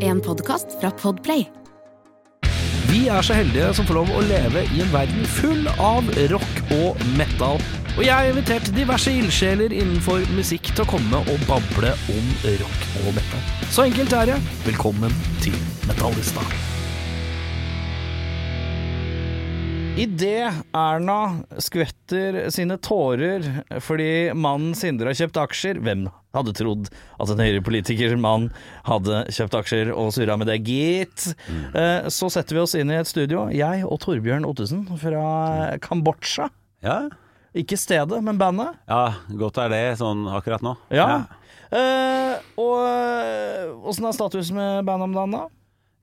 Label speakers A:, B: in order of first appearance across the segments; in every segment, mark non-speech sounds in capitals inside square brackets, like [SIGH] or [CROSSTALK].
A: En podkast fra Podplay.
B: Vi er så heldige som får lov å leve i en verden full av rock og metal. Og jeg har invitert diverse ildsjeler innenfor musikk til å komme og bable om rock og metal. Så enkelt er det. Velkommen til Metallista.
C: Idet Erna skvetter sine tårer fordi mannen Sindre har kjøpt aksjer Hvem hadde trodd at en Høyre-politikermann hadde kjøpt aksjer og surra med det, gitt? Eh, Så setter vi oss inn i et studio, jeg og Torbjørn Ottesen fra Kambodsja.
D: Ja,
C: Ikke stedet, men bandet.
D: ja godt er det sånn akkurat nå.
C: Ja. Eh, og åssen er status med bandet om dagen, da?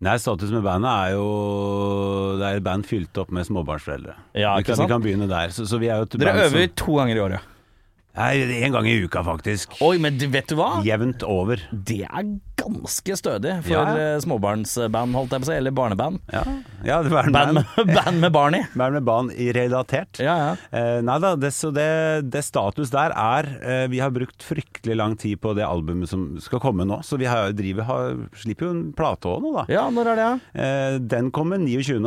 D: Nei, status med bandet er jo Det er et band fylt opp med småbarnsforeldre.
C: Ja,
D: vi,
C: ikke
D: kan,
C: sant?
D: vi kan begynne der. Så, så vi er jo et
C: Dere
D: band
C: øver to ganger i året.
D: som Nei, en gang i uka, faktisk.
C: Oi, men vet du hva?
D: Jevnt over.
C: Det er ganske stødig for
D: Ja.
C: eh, småbarnsband, holdt jeg på å si, eller barneband.
D: Ja, ja det var en
C: Band
D: band,
C: med, band med barn i.
D: band med barn i relatert.
C: [LAUGHS] Ja, ja.
D: Eh, nei da, det, så det, det status der er eh, Vi har brukt fryktelig lang tid på det albumet som skal komme nå, så vi har, driver, har, slipper jo en plate òg nå, da.
C: Ja, når er det?
D: Eh, Den kommer 29.,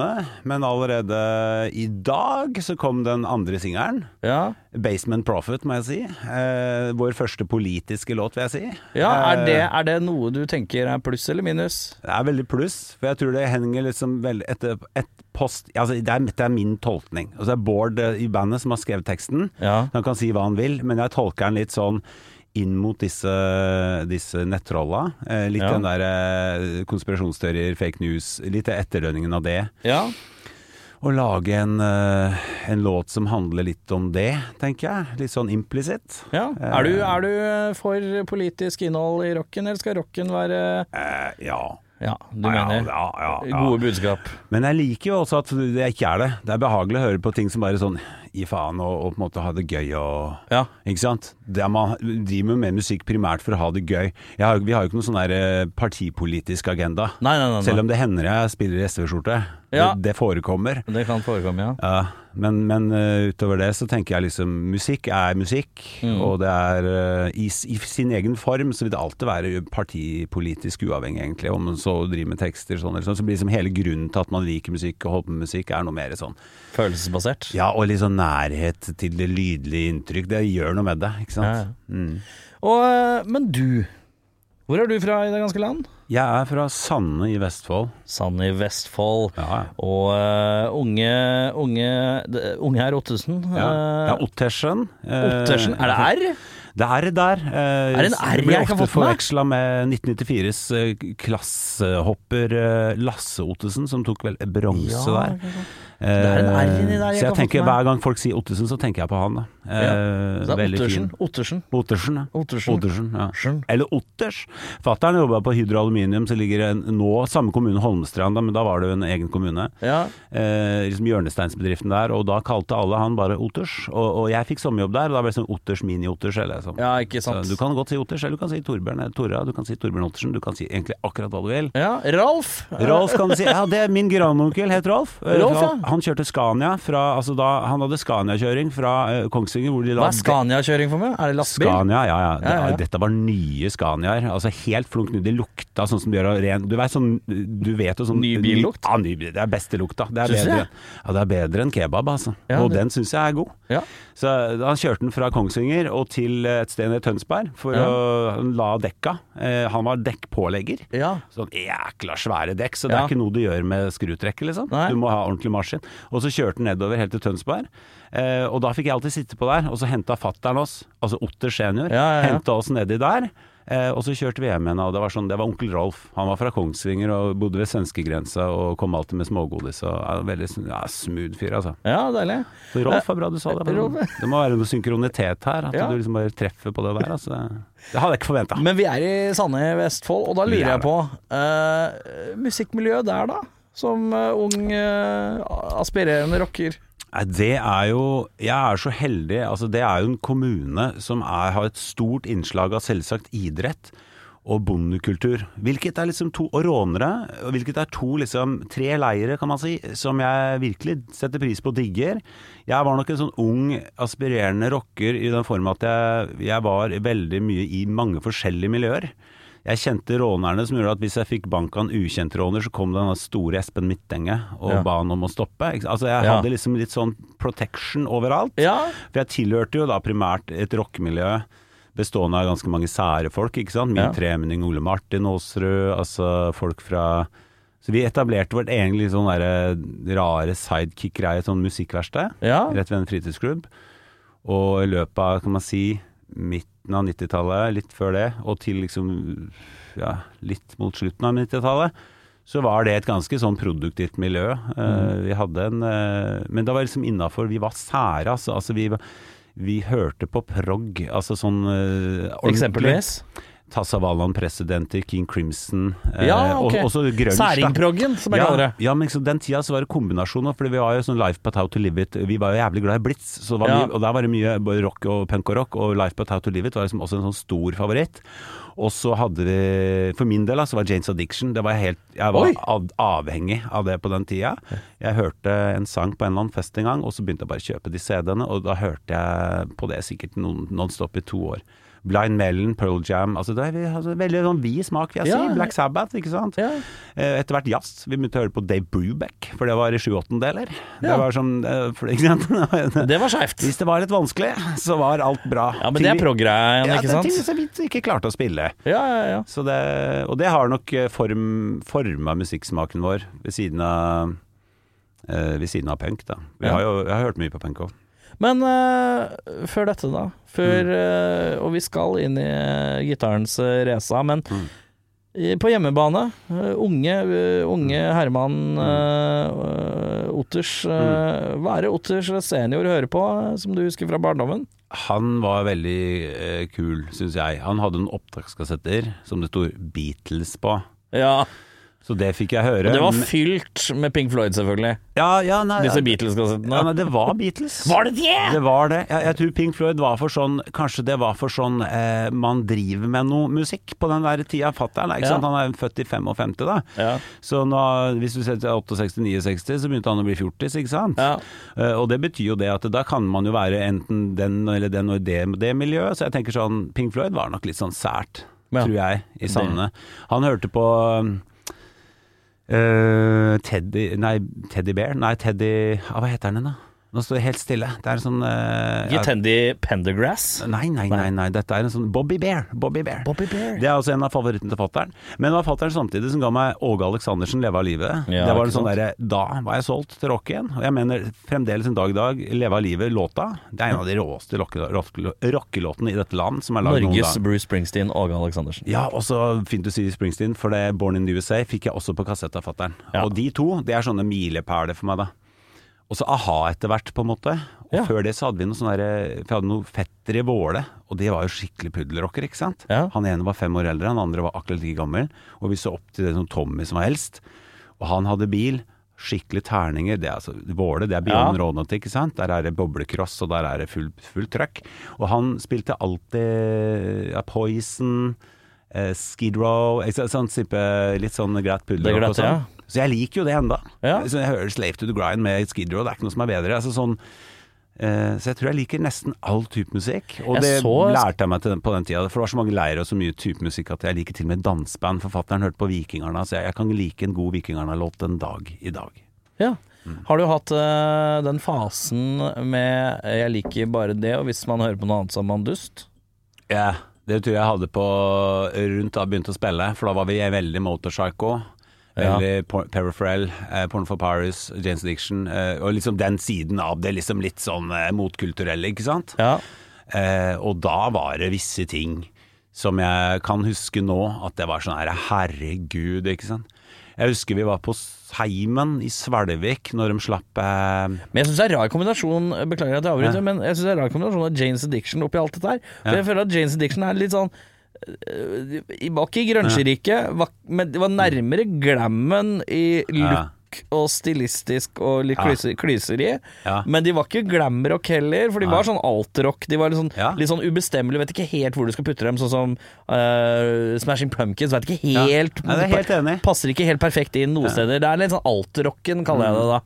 D: men allerede i dag så kom den andre singelen.
C: Ja,
D: Basement Profit, må jeg si. Eh, vår første politiske låt, vil jeg si.
C: ja er,
D: Eh,
C: det, er det noe du tenker er pluss eller minus?
D: det er veldig pluss, for jeg tror det henger liksom veldig etter et post altså, det, er, det er min tolkning. Altså, det er Bård eh, i bandet som har skrevet teksten.
C: Ja.
D: Han kan si hva han vil, men jeg tolker den litt sånn inn mot disse, disse nettrolla. Eh, litt
C: Ja.
D: den der eh, konspirasjonsteorier, fake news, litt etterdønningen av det.
C: Ja,
D: Å lage en, eh, en låt som handler litt om det, tenker jeg. Litt sånn implisitt.
C: ja. Er, du, er du for politisk innhold i rocken, eller skal rocken være
D: Eh, ja.
C: Ja, du
D: Ja,
C: mener
D: ja, ja, ja.
C: gode budskap.
D: Men jeg liker jo også at det ikke er det. Det er behagelig å høre på ting som bare sånn i faen, og, og på en måte ha det gøy og
C: Ja.
D: Ikke sant? Det er man driver med musikk primært for å ha det gøy. Jeg har, vi har jo ikke noen sånn der eh, partipolitisk agenda.
C: Nei, nei, nei. nei.
D: Selv om det hender jeg spiller i SV-skjorte.
C: Ja.
D: Det, det forekommer.
C: det kan forekomme, ja.
D: Ja, men, men eh, utover det så tenker jeg liksom musikk er musikk,
C: Mm.
D: og det er eh, i, s- i sin egen form så vil det alltid være partipolitisk uavhengig egentlig, om man så driver med tekster sånn eller sånn, så blir liksom hele grunnen til at man liker musikk og holder på med musikk er noe mer sånn.
C: Følelsesbasert.
D: Ja, og litt sånn nærhet til det lydlige inntrykk, det gjør noe med det, ikke sant?
C: Ja, ja. Og, eh, men du, hvor er du fra i det ganske land?
D: Jeg er fra Sanne i Vestfold.
C: Sand i Vestfold.
D: Ja, ja.
C: Og eh, unge, unge, d- unge her Ottesen.
D: Ja,
C: eh,
D: ja Ottersen. eh,
C: Ottersen, er det R?
D: Det er det der. Eh,
C: Er det en R
D: blir
C: jeg ikke har
D: ofte
C: fått med?
D: forveksla med 1994s eh, klassehopper eh, Lasse Ottesen, som tok vel bronse
C: Ja,
D: der.
C: ikke sant.
D: Eh,
C: det er en R inni der jeg ikke
D: så
C: har
D: jeg
C: fått
D: tenker
C: med.
D: hver gang folk sier Ottesen, så tenker jeg på han. Da. Eh,
C: Ja, Så det er
D: veldig
C: Ottersen.
D: fin.
C: Ottersen.
D: Ottersen, ja.
C: Ottersen.
D: ja.
C: Ottersen.
D: Eller Otters. Fattern jobba på Hydro Aluminium, som ligger en, nå samme kommune, Holmestrand, da, men da var det jo en egen kommune.
C: Ja.
D: Eh, liksom hjørnesteinsbedriften der, og da kalte alle han bare Otters. Og, og jeg fikk sommerjobb der, og da ble det sånn Otters Mini-Otters, eller sånn.
C: ja, ikke sant.
D: Så Du kan godt si Otters, eller du kan si Torbjørn eller Tora, du kan si Torbjørn Ottersen, du kan si egentlig akkurat hva du vil.
C: Ja, Ralf.
D: Rolf kan du si, ja det er min grandonkel, het Rolf.
C: [LAUGHS]
D: Eh,
C: Rolf, ja.
D: Han kjørte Scania fra, altså da, han hadde Scania-kjøring fra eh, Kongsvinger hvor de
C: Hva
D: la
C: er Scania-kjøring for meg? Er det lastebil?
D: Scania, ja, ja.
C: Ja, ja, ja.
D: Dette var nye Scaniaer. Altså helt flunk nye. Det lukta sånn som de gjør av ren Du vet sånn Du vet jo sånn
C: Ny billukt?
D: Ja, ny, bil. det er beste lukta. Det er
C: Syns du
D: bedre.
C: det?
D: Ja, det er bedre enn kebab, altså.
C: Ja,
D: og
C: det-
D: den syns jeg er god.
C: Ja.
D: Så da kjørte han fra Kongsvinger og til eh, et sted nede i Tønsberg for
C: Ja.
D: å han la dekka. Eh, han var dekkpålegger.
C: ja.
D: Sånn jækla svære dekk, så det
C: Ja.
D: er ikke noe du gjør med skrutrekker, liksom.
C: Nei.
D: Du må ha ordentlig maskin. Og så kjørte han nedover helt til Tønsberg, eh, og da fikk jeg alltid sitte på der. Og så henta fattern oss, altså Otter senior,
C: Ja, ja, ja.
D: henta oss nedi der. Eh, og så kjørte vi hjem igjen, og det var sånn, det var onkel Rolf. Han var fra Kongsvinger og bodde ved svenskegrensa og kom alltid med smågodis. Og er en veldig ja, smooth fyr, altså.
C: ja, deilig.
D: Så Rolf er bra du sa det.
C: Rolf.
D: Det må være noe synkronitet her. At
C: Ja.
D: du liksom bare treffer på det der. Altså. Det hadde jeg ikke forventa.
C: Men vi er i Sande i Vestfold, og da
D: Vi
C: lurer
D: er
C: jeg på eh, Musikkmiljøet der, da? Som eh, ung, eh, aspirerende rocker.
D: Nei, Det er jo Jeg er så heldig. Altså, det er jo en kommune som er, har et stort innslag av selvsagt idrett. Og bondekultur. Hvilket er liksom to Og rånere. og Hvilket er to liksom Tre leire, kan man si, som jeg virkelig setter pris på og digger. Jeg var nok en sånn ung, aspirerende rocker i den form at jeg, jeg var veldig mye i mange forskjellige miljøer. Jeg kjente rånerne som gjorde at hvis jeg fikk bank av en ukjent råner, så kom den store Espen Midtenge og
C: Ja.
D: ba han om å stoppe. Ikke sant? Altså jeg
C: Ja.
D: hadde liksom litt sånn protection overalt.
C: Ja.
D: For jeg tilhørte jo da primært et rockemiljø bestående av ganske mange sære folk, ikke sant? Min
C: Ja.
D: tremenning Ole Martin Aasrud, altså folk fra Så vi etablerte vårt egentlig sånn derre rare sidekick-greie, sånn musikkverksted,
C: Ja.
D: rett ved en fritidsklubb. Og i løpet av, kan man si, midten av 90-tallet, litt før det, og til liksom ja, litt mot slutten av 90-tallet, så var det et ganske sånn produktivt miljø. Eh,
C: Mm.
D: vi hadde en eh, Men da var det liksom innafor. Vi var sære, altså. altså vi, var- vi hørte på prog, altså sånn eh, ordentlig.
C: Eksempelvis.
D: Tassavalan Presidenter, King Crimson eh,
C: Ja, ok.
D: og, også grunge. da.
C: Særingproggen, som jeg
D: ja,
C: kaller det.
D: Ja, men liksom, den tida så var det kombinasjoner, fordi vi var jo sånn Life But How To Live It. Vi var jo jævlig glad i Blitz, så det var
C: Ja.
D: mye, og der var det mye både rock og punk og rock, og Life But How To Live It var liksom også en sånn stor favoritt. Og så hadde vi, for min del da, så var Janes Addiction, det var jeg helt, jeg
C: Oi!
D: var av, avhengig av det på den tida. Jeg hørte en sang på en eller annen fest en gang, og så begynte jeg bare å kjøpe de CD-ene, og da hørte jeg på det sikkert non- non-stop i to år. Blind Melon, Pearl Jam, altså det er vi- altså, veldig sånn vid smak, vil jeg
C: Ja.
D: si. Black Sabbath, ikke sant?
C: Ja.
D: Eh, Etter hvert jazz. Vi begynte å høre på Dave Brubeck, for det var i sju åttendeler.
C: Ja.
D: Det var som eh, for, [LAUGHS] Ikke sant?
C: Det var skeivt.
D: Hvis det var litt vanskelig, så var alt bra.
C: Ja, men det er
D: Ting vi-
C: prog-greien,
D: Ja,
C: ikke
D: det er ting
C: sant?
D: som vi ikke klarte å spille.
C: Ja, ja, ja.
D: Så det, og det har nok eh, form, forma musikksmaken vår, ved siden av eh, ved siden av punk, da. Vi
C: Ja.
D: har jo, jeg har hørt mye på punk òg.
C: Men eh, før dette, da.
D: Mm.
C: Før, eh, og vi skal inn i eh, gitarens eh, resa, men
D: Mm.
C: i- på hjemmebane eh, Unge, eh, unge
D: Mm.
C: Herman eh, Otters. eh,
D: Mm.
C: hva er det Otters senior hører på, eh, som du husker fra barndommen?
D: Han var veldig eh, kul, syns jeg. Han hadde en opptakskassetter som det sto Beatles på.
C: Ja,
D: Så det fikk jeg høre.
C: og det var
D: Men-
C: fylt med Pink Floyd, selvfølgelig.
D: ja, ja, nei,
C: Disse
D: ja. Ja,
C: Beatles-kassettene.
D: nei, det var Beatles.
C: det det?!
D: Det var det. Jeg, jeg tror Pink Floyd var for sånn Kanskje det var for sånn eh, man driver med noe musikk på den der tida fatter'n er. Ikke
C: Ja.
D: sant? Han er født i 55, da.
C: Ja.
D: Så nå, hvis du ser til 68-69, så begynte han å bli 40, ikke sant?
C: Ja.
D: Eh, og det betyr jo det at da kan man jo være enten den eller den og det, det miljøet. Så jeg tenker sånn Pink Floyd var nok litt sånn sært,
C: Ja.
D: tror jeg, i savnene. Han hørte på eh, Teddy Nei, Teddy Bear? Nei, Teddy ah, Hva heter han igjen, da? Nå står det helt stille. Det er en sånn eh,
C: Ikke Tendy Pendergrass.
D: Nei, nei, nei, nei, dette er en sånn Bobby Bear. Bobby Bear.
C: Bobby Bear.
D: Det er også en av favorittene til fatter'n. Men det var fatter'n samtidig som ga meg Åge Aleksandersen, Leve av livet.
C: Ja,
D: det var
C: ikke
D: en sånn derre Da var jeg solgt til rock igjen. Og jeg mener fremdeles en dag i dag, Leve av livet, låta. Det er en av de råeste rocke- rock- rockelåtene i dette land som er lagd noen
C: Norges
D: gang.
C: Bruce Springsteen, Åge Aleksandersen.
D: Ja, og så fint du sier Springsteen, for det Born in the USA fikk jeg også på kassett av fatter'n.
C: Ja.
D: Og de to, det er sånne milepæler for meg, da. Og så a-ha etter hvert, på en måte. Og
C: Ja.
D: før det så hadde vi noe sånn derre For jeg hadde noen fettere i Våle, og de var jo skikkelig puddelrockere, ikke sant.
C: Ja.
D: Han ene var fem år eldre, han andre var akkurat like gammel. Og vi så opp til det som Tommy som var eldst. Og han hadde bil. Skikkelig terninger. Det er altså Våle, det er
C: Ja.
D: Beyond Rånete, ikke sant. Der er det boblecross, og der er det full- fullt trøkk. Og han spilte alltid ja, Poison, eh, Skid Row ikke sant, sånn type, Litt sånn greit
C: Det er
D: puddelrock
C: greit,
D: og sånn. Så jeg liker jo det enda
C: Ja.
D: Så Jeg hører Slave to the Grind med Skid Row, det er ikke noe som er bedre. Altså sånn eh, så jeg tror jeg liker nesten all type musikk, og
C: Jeg
D: det
C: så-
D: lærte jeg meg til, på den tida. For det var så mange leirer og så mye type musikk at jeg liker til og med danseband. Forfatteren hørte på Vikingarna, så jeg, jeg kan like en god Vikingarna-låt en dag i dag.
C: Ja. Har du hatt eh, den fasen med 'jeg liker bare det', og hvis man hører på noe annet, så er man dust?
D: Ja, det tror jeg jeg hadde på rundt da jeg begynte å spille, for da var vi veldig motorpsycho.
C: Ja.
D: Veldig por Peripheral, eh, Porn for Paris, James Addiction eh, og liksom den siden av det liksom litt sånn eh, motkulturelle, ikke sant?
C: Ja.
D: Eh, og da var det visse ting som jeg kan huske nå, at det var sånn her herregud, ikke sant. Jeg husker vi var på Heimen i Svelvik når de slapp eh,
C: Men jeg syns det er rar kombinasjon Beklager at jeg avbryter, men jeg synes det er rar kombinasjon av Janes Addiction oppi alt dette her. For jeg føler at Janes Addiction er litt sånn øh, i- Var ikke i grønsjeriket, var- men det var nærmere glammen i
D: Ja.
C: look og stilistisk og litt klyse- klyseri.
D: Ja.
C: Men de var ikke glamrock heller, for de var sånn altrock. De var litt sånn,
D: Ja.
C: litt sånn ubestemmelige, vet ikke helt hvor du skal putte dem. Sånn som øh, Smashing Pumpkins, vet ikke
D: Ja.
C: helt
D: Nei, det er helt enig.
C: passer ikke helt perfekt inn noen steder. Det er litt sånn alt-rocken, kaller jeg det da.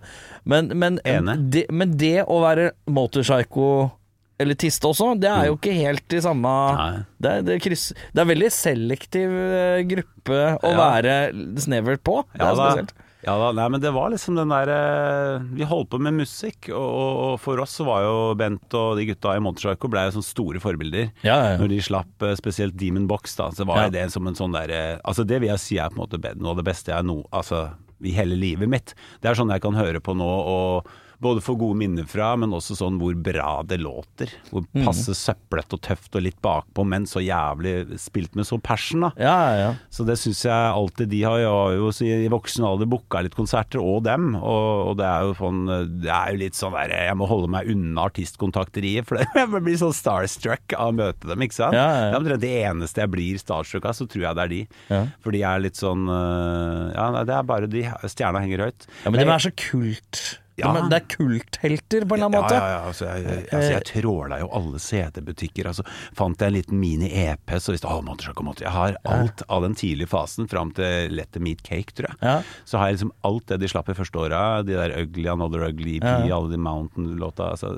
C: Men, men,
D: Mm. Enig.
C: det, men det å være motorpsycho eller tiste også, det er jo ikke helt i samme
D: Mm. Nei.
C: det er, det, kryss, det er veldig selektiv eh, gruppe å
D: Ja.
C: være snevert på. Det
D: Ja
C: er
D: da.
C: spesielt.
D: Ja da, nei, men det var liksom den der eh, Vi holdt på med musikk, og, og, og for oss så var jo Bent og de gutta i Montersarco ble jo sånne store forbilder.
C: Ja, ja, ja.
D: Når de slapp eh, spesielt Demon Box, da, så var
C: Ja.
D: jo det som en sånn der eh, Altså det vil jeg si er på en måte be- noe av det beste jeg nå Altså i hele livet mitt. Det er sånn jeg kan høre på nå og både få gode minner fra, men også sånn hvor bra det låter. Hvor
C: Mhm.
D: passe søplete og tøft og litt bakpå, men så jævlig spilt med så passion, da.
C: Ja, ja, ja.
D: Så det syns jeg alltid de har. Jeg har jo så i voksen alder booka litt konserter, og dem. Og, og det er jo sånn Det er jo litt sånn der Jeg må holde meg unna artistkontakteriet, for [LAUGHS] jeg blir sånn starstruck av å møte dem, ikke sant.
C: Ja, ja, ja.
D: Det er omtrent det eneste jeg blir starstruck av, så tror jeg det er de.
C: Ja.
D: For de er litt sånn øh, Ja, nei, det er bare de. Stjerna henger høyt.
C: Ja, men de er så kult. De
D: Ja.
C: er, det er kulthelter, på en eller annen måte.
D: Ja, ja, ja. Altså, jeg, jeg, altså, jeg tråla jo alle CD-butikker. Altså, fant jeg en liten mini-EP, så visste jeg «Å, Monty Choco Monty». Jeg har alt av den tidlige fasen fram til Let them eat cake, tror jeg.
C: Ja.
D: Så har jeg liksom alt det de slapp i første åra. De der Ugly, Another Ugly, EP,
C: Ja.
D: alle de Mountain-låta. Altså,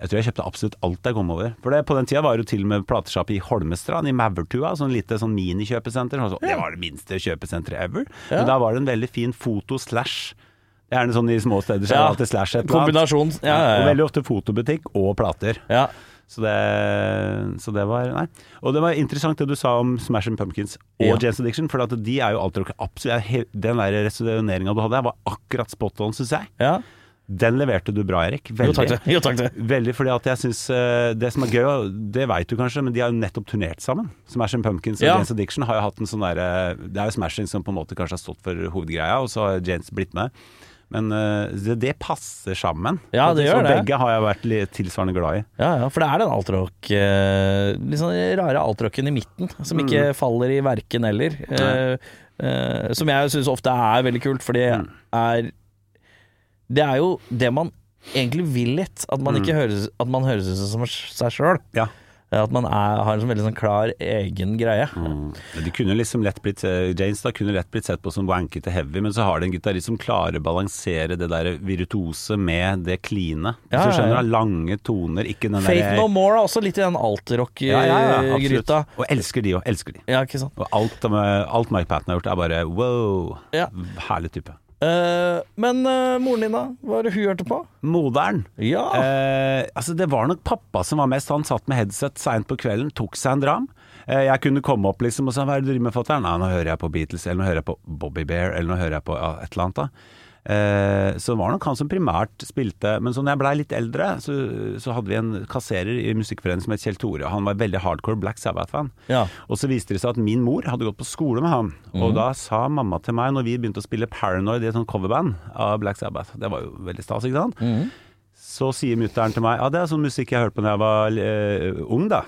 D: jeg tror jeg kjøpte absolutt alt jeg kom over. For det, på den tida var det jo til og med platesjappe i Holmestrand, i Mavertua. Sånn lite sånn minikjøpesenter. Sånn, så- Det var det minste kjøpesenteret ever. Men da var det en veldig fin foto-slash. Det er Gjerne sånn i små steder så er det
C: Ja.
D: alltid slash et eller annet.
C: Kombinasjon. Ja,
D: Og
C: ja, ja.
D: veldig ofte fotobutikk og plater.
C: ja.
D: Så det, så det var Nei. Og det var interessant det du sa om Smashing Pumpkins og
C: Ja.
D: Jane's Addiction, for at de er jo alltid absolutt jeg er helt- Den der resoneringa du hadde, var akkurat spot on, syns jeg.
C: ja.
D: Den leverte du bra, Erik.
C: Jo, takk det. Jo, takk det.
D: Veldig, fordi at jeg synes eh, Det som er gøy, og det vet du kanskje, men de har jo nettopp turnert sammen. Smashing Pumpkins og
C: Ja.
D: Janes Addiction har jo hatt en sånn derre Det er jo Smashing som på en måte kanskje har stått for hovedgreia, og så har Janes blitt med. Men eh, det, det passer sammen.
C: Ja, det
D: Så
C: gjør det.
D: Begge har jeg vært litt tilsvarende glad i.
C: Ja, ja, for det er den altrock eh, Litt sånn rare altrocken i midten, som
D: Mm.
C: ikke faller i verken eller. Eh, eh, som jeg syns ofte er veldig kult, for det
D: Mm.
C: er Det er jo det man egentlig vil litt. At man ikke
D: Mm.
C: høres At man høres ut som seg sjøl.
D: Ja.
C: At man er, har en sånn veldig sånn klar egen greie.
D: Men De kunne liksom lett blitt eh, Janes da kunne lett blitt sett på som wankete heavy, men så har de en gitarist som klarer å balansere det der virtuose med det kline.
C: Ja,
D: Hvis
C: ja,
D: du skjønner,
C: ja.
D: da, lange toner, ikke den
C: Faith
D: der eh,
C: No More er også litt i den
D: Ja, ja,
C: Eh,
D: ja, absolutt.
C: altrock-gryta.
D: Og elsker de òg. Elsker de.
C: Ja, ikke sant.
D: Og alt, de- alt Mike Patten har gjort, er bare wow.
C: Ja.
D: Herlig type.
C: Eh, men eh, moren din, da? Hva er det hun hørte på?
D: Moderen.
C: Ja.
D: Eh, altså det var nok pappa som var mest. Han satt med headset seint på kvelden, tok seg en dram. Eh, jeg kunne komme opp liksom og sa 'hva er det du driver med, fatter'n?' Nei, nå hører jeg på Beatles, eller nå hører jeg på Bobby Bear, eller nå hører jeg på ja, et eller annet. da Eh, så det var nok han som primært spilte, men så når jeg blei litt eldre, så, så hadde vi en kasserer i Musikkforeningen som het Kjell Tore. Han var veldig hardcore Black Sabbath-fan.
C: Ja.
D: Og så viste det seg at min mor hadde gått på skole med han. Og da sa mamma til meg, når vi begynte å spille Paranoid i et sånt coverband av Black Sabbath, det var jo veldig stas, ikke sant? Så sier mutter'n til meg, ja det er sånn musikk jeg hørte på da jeg var eh, ung da.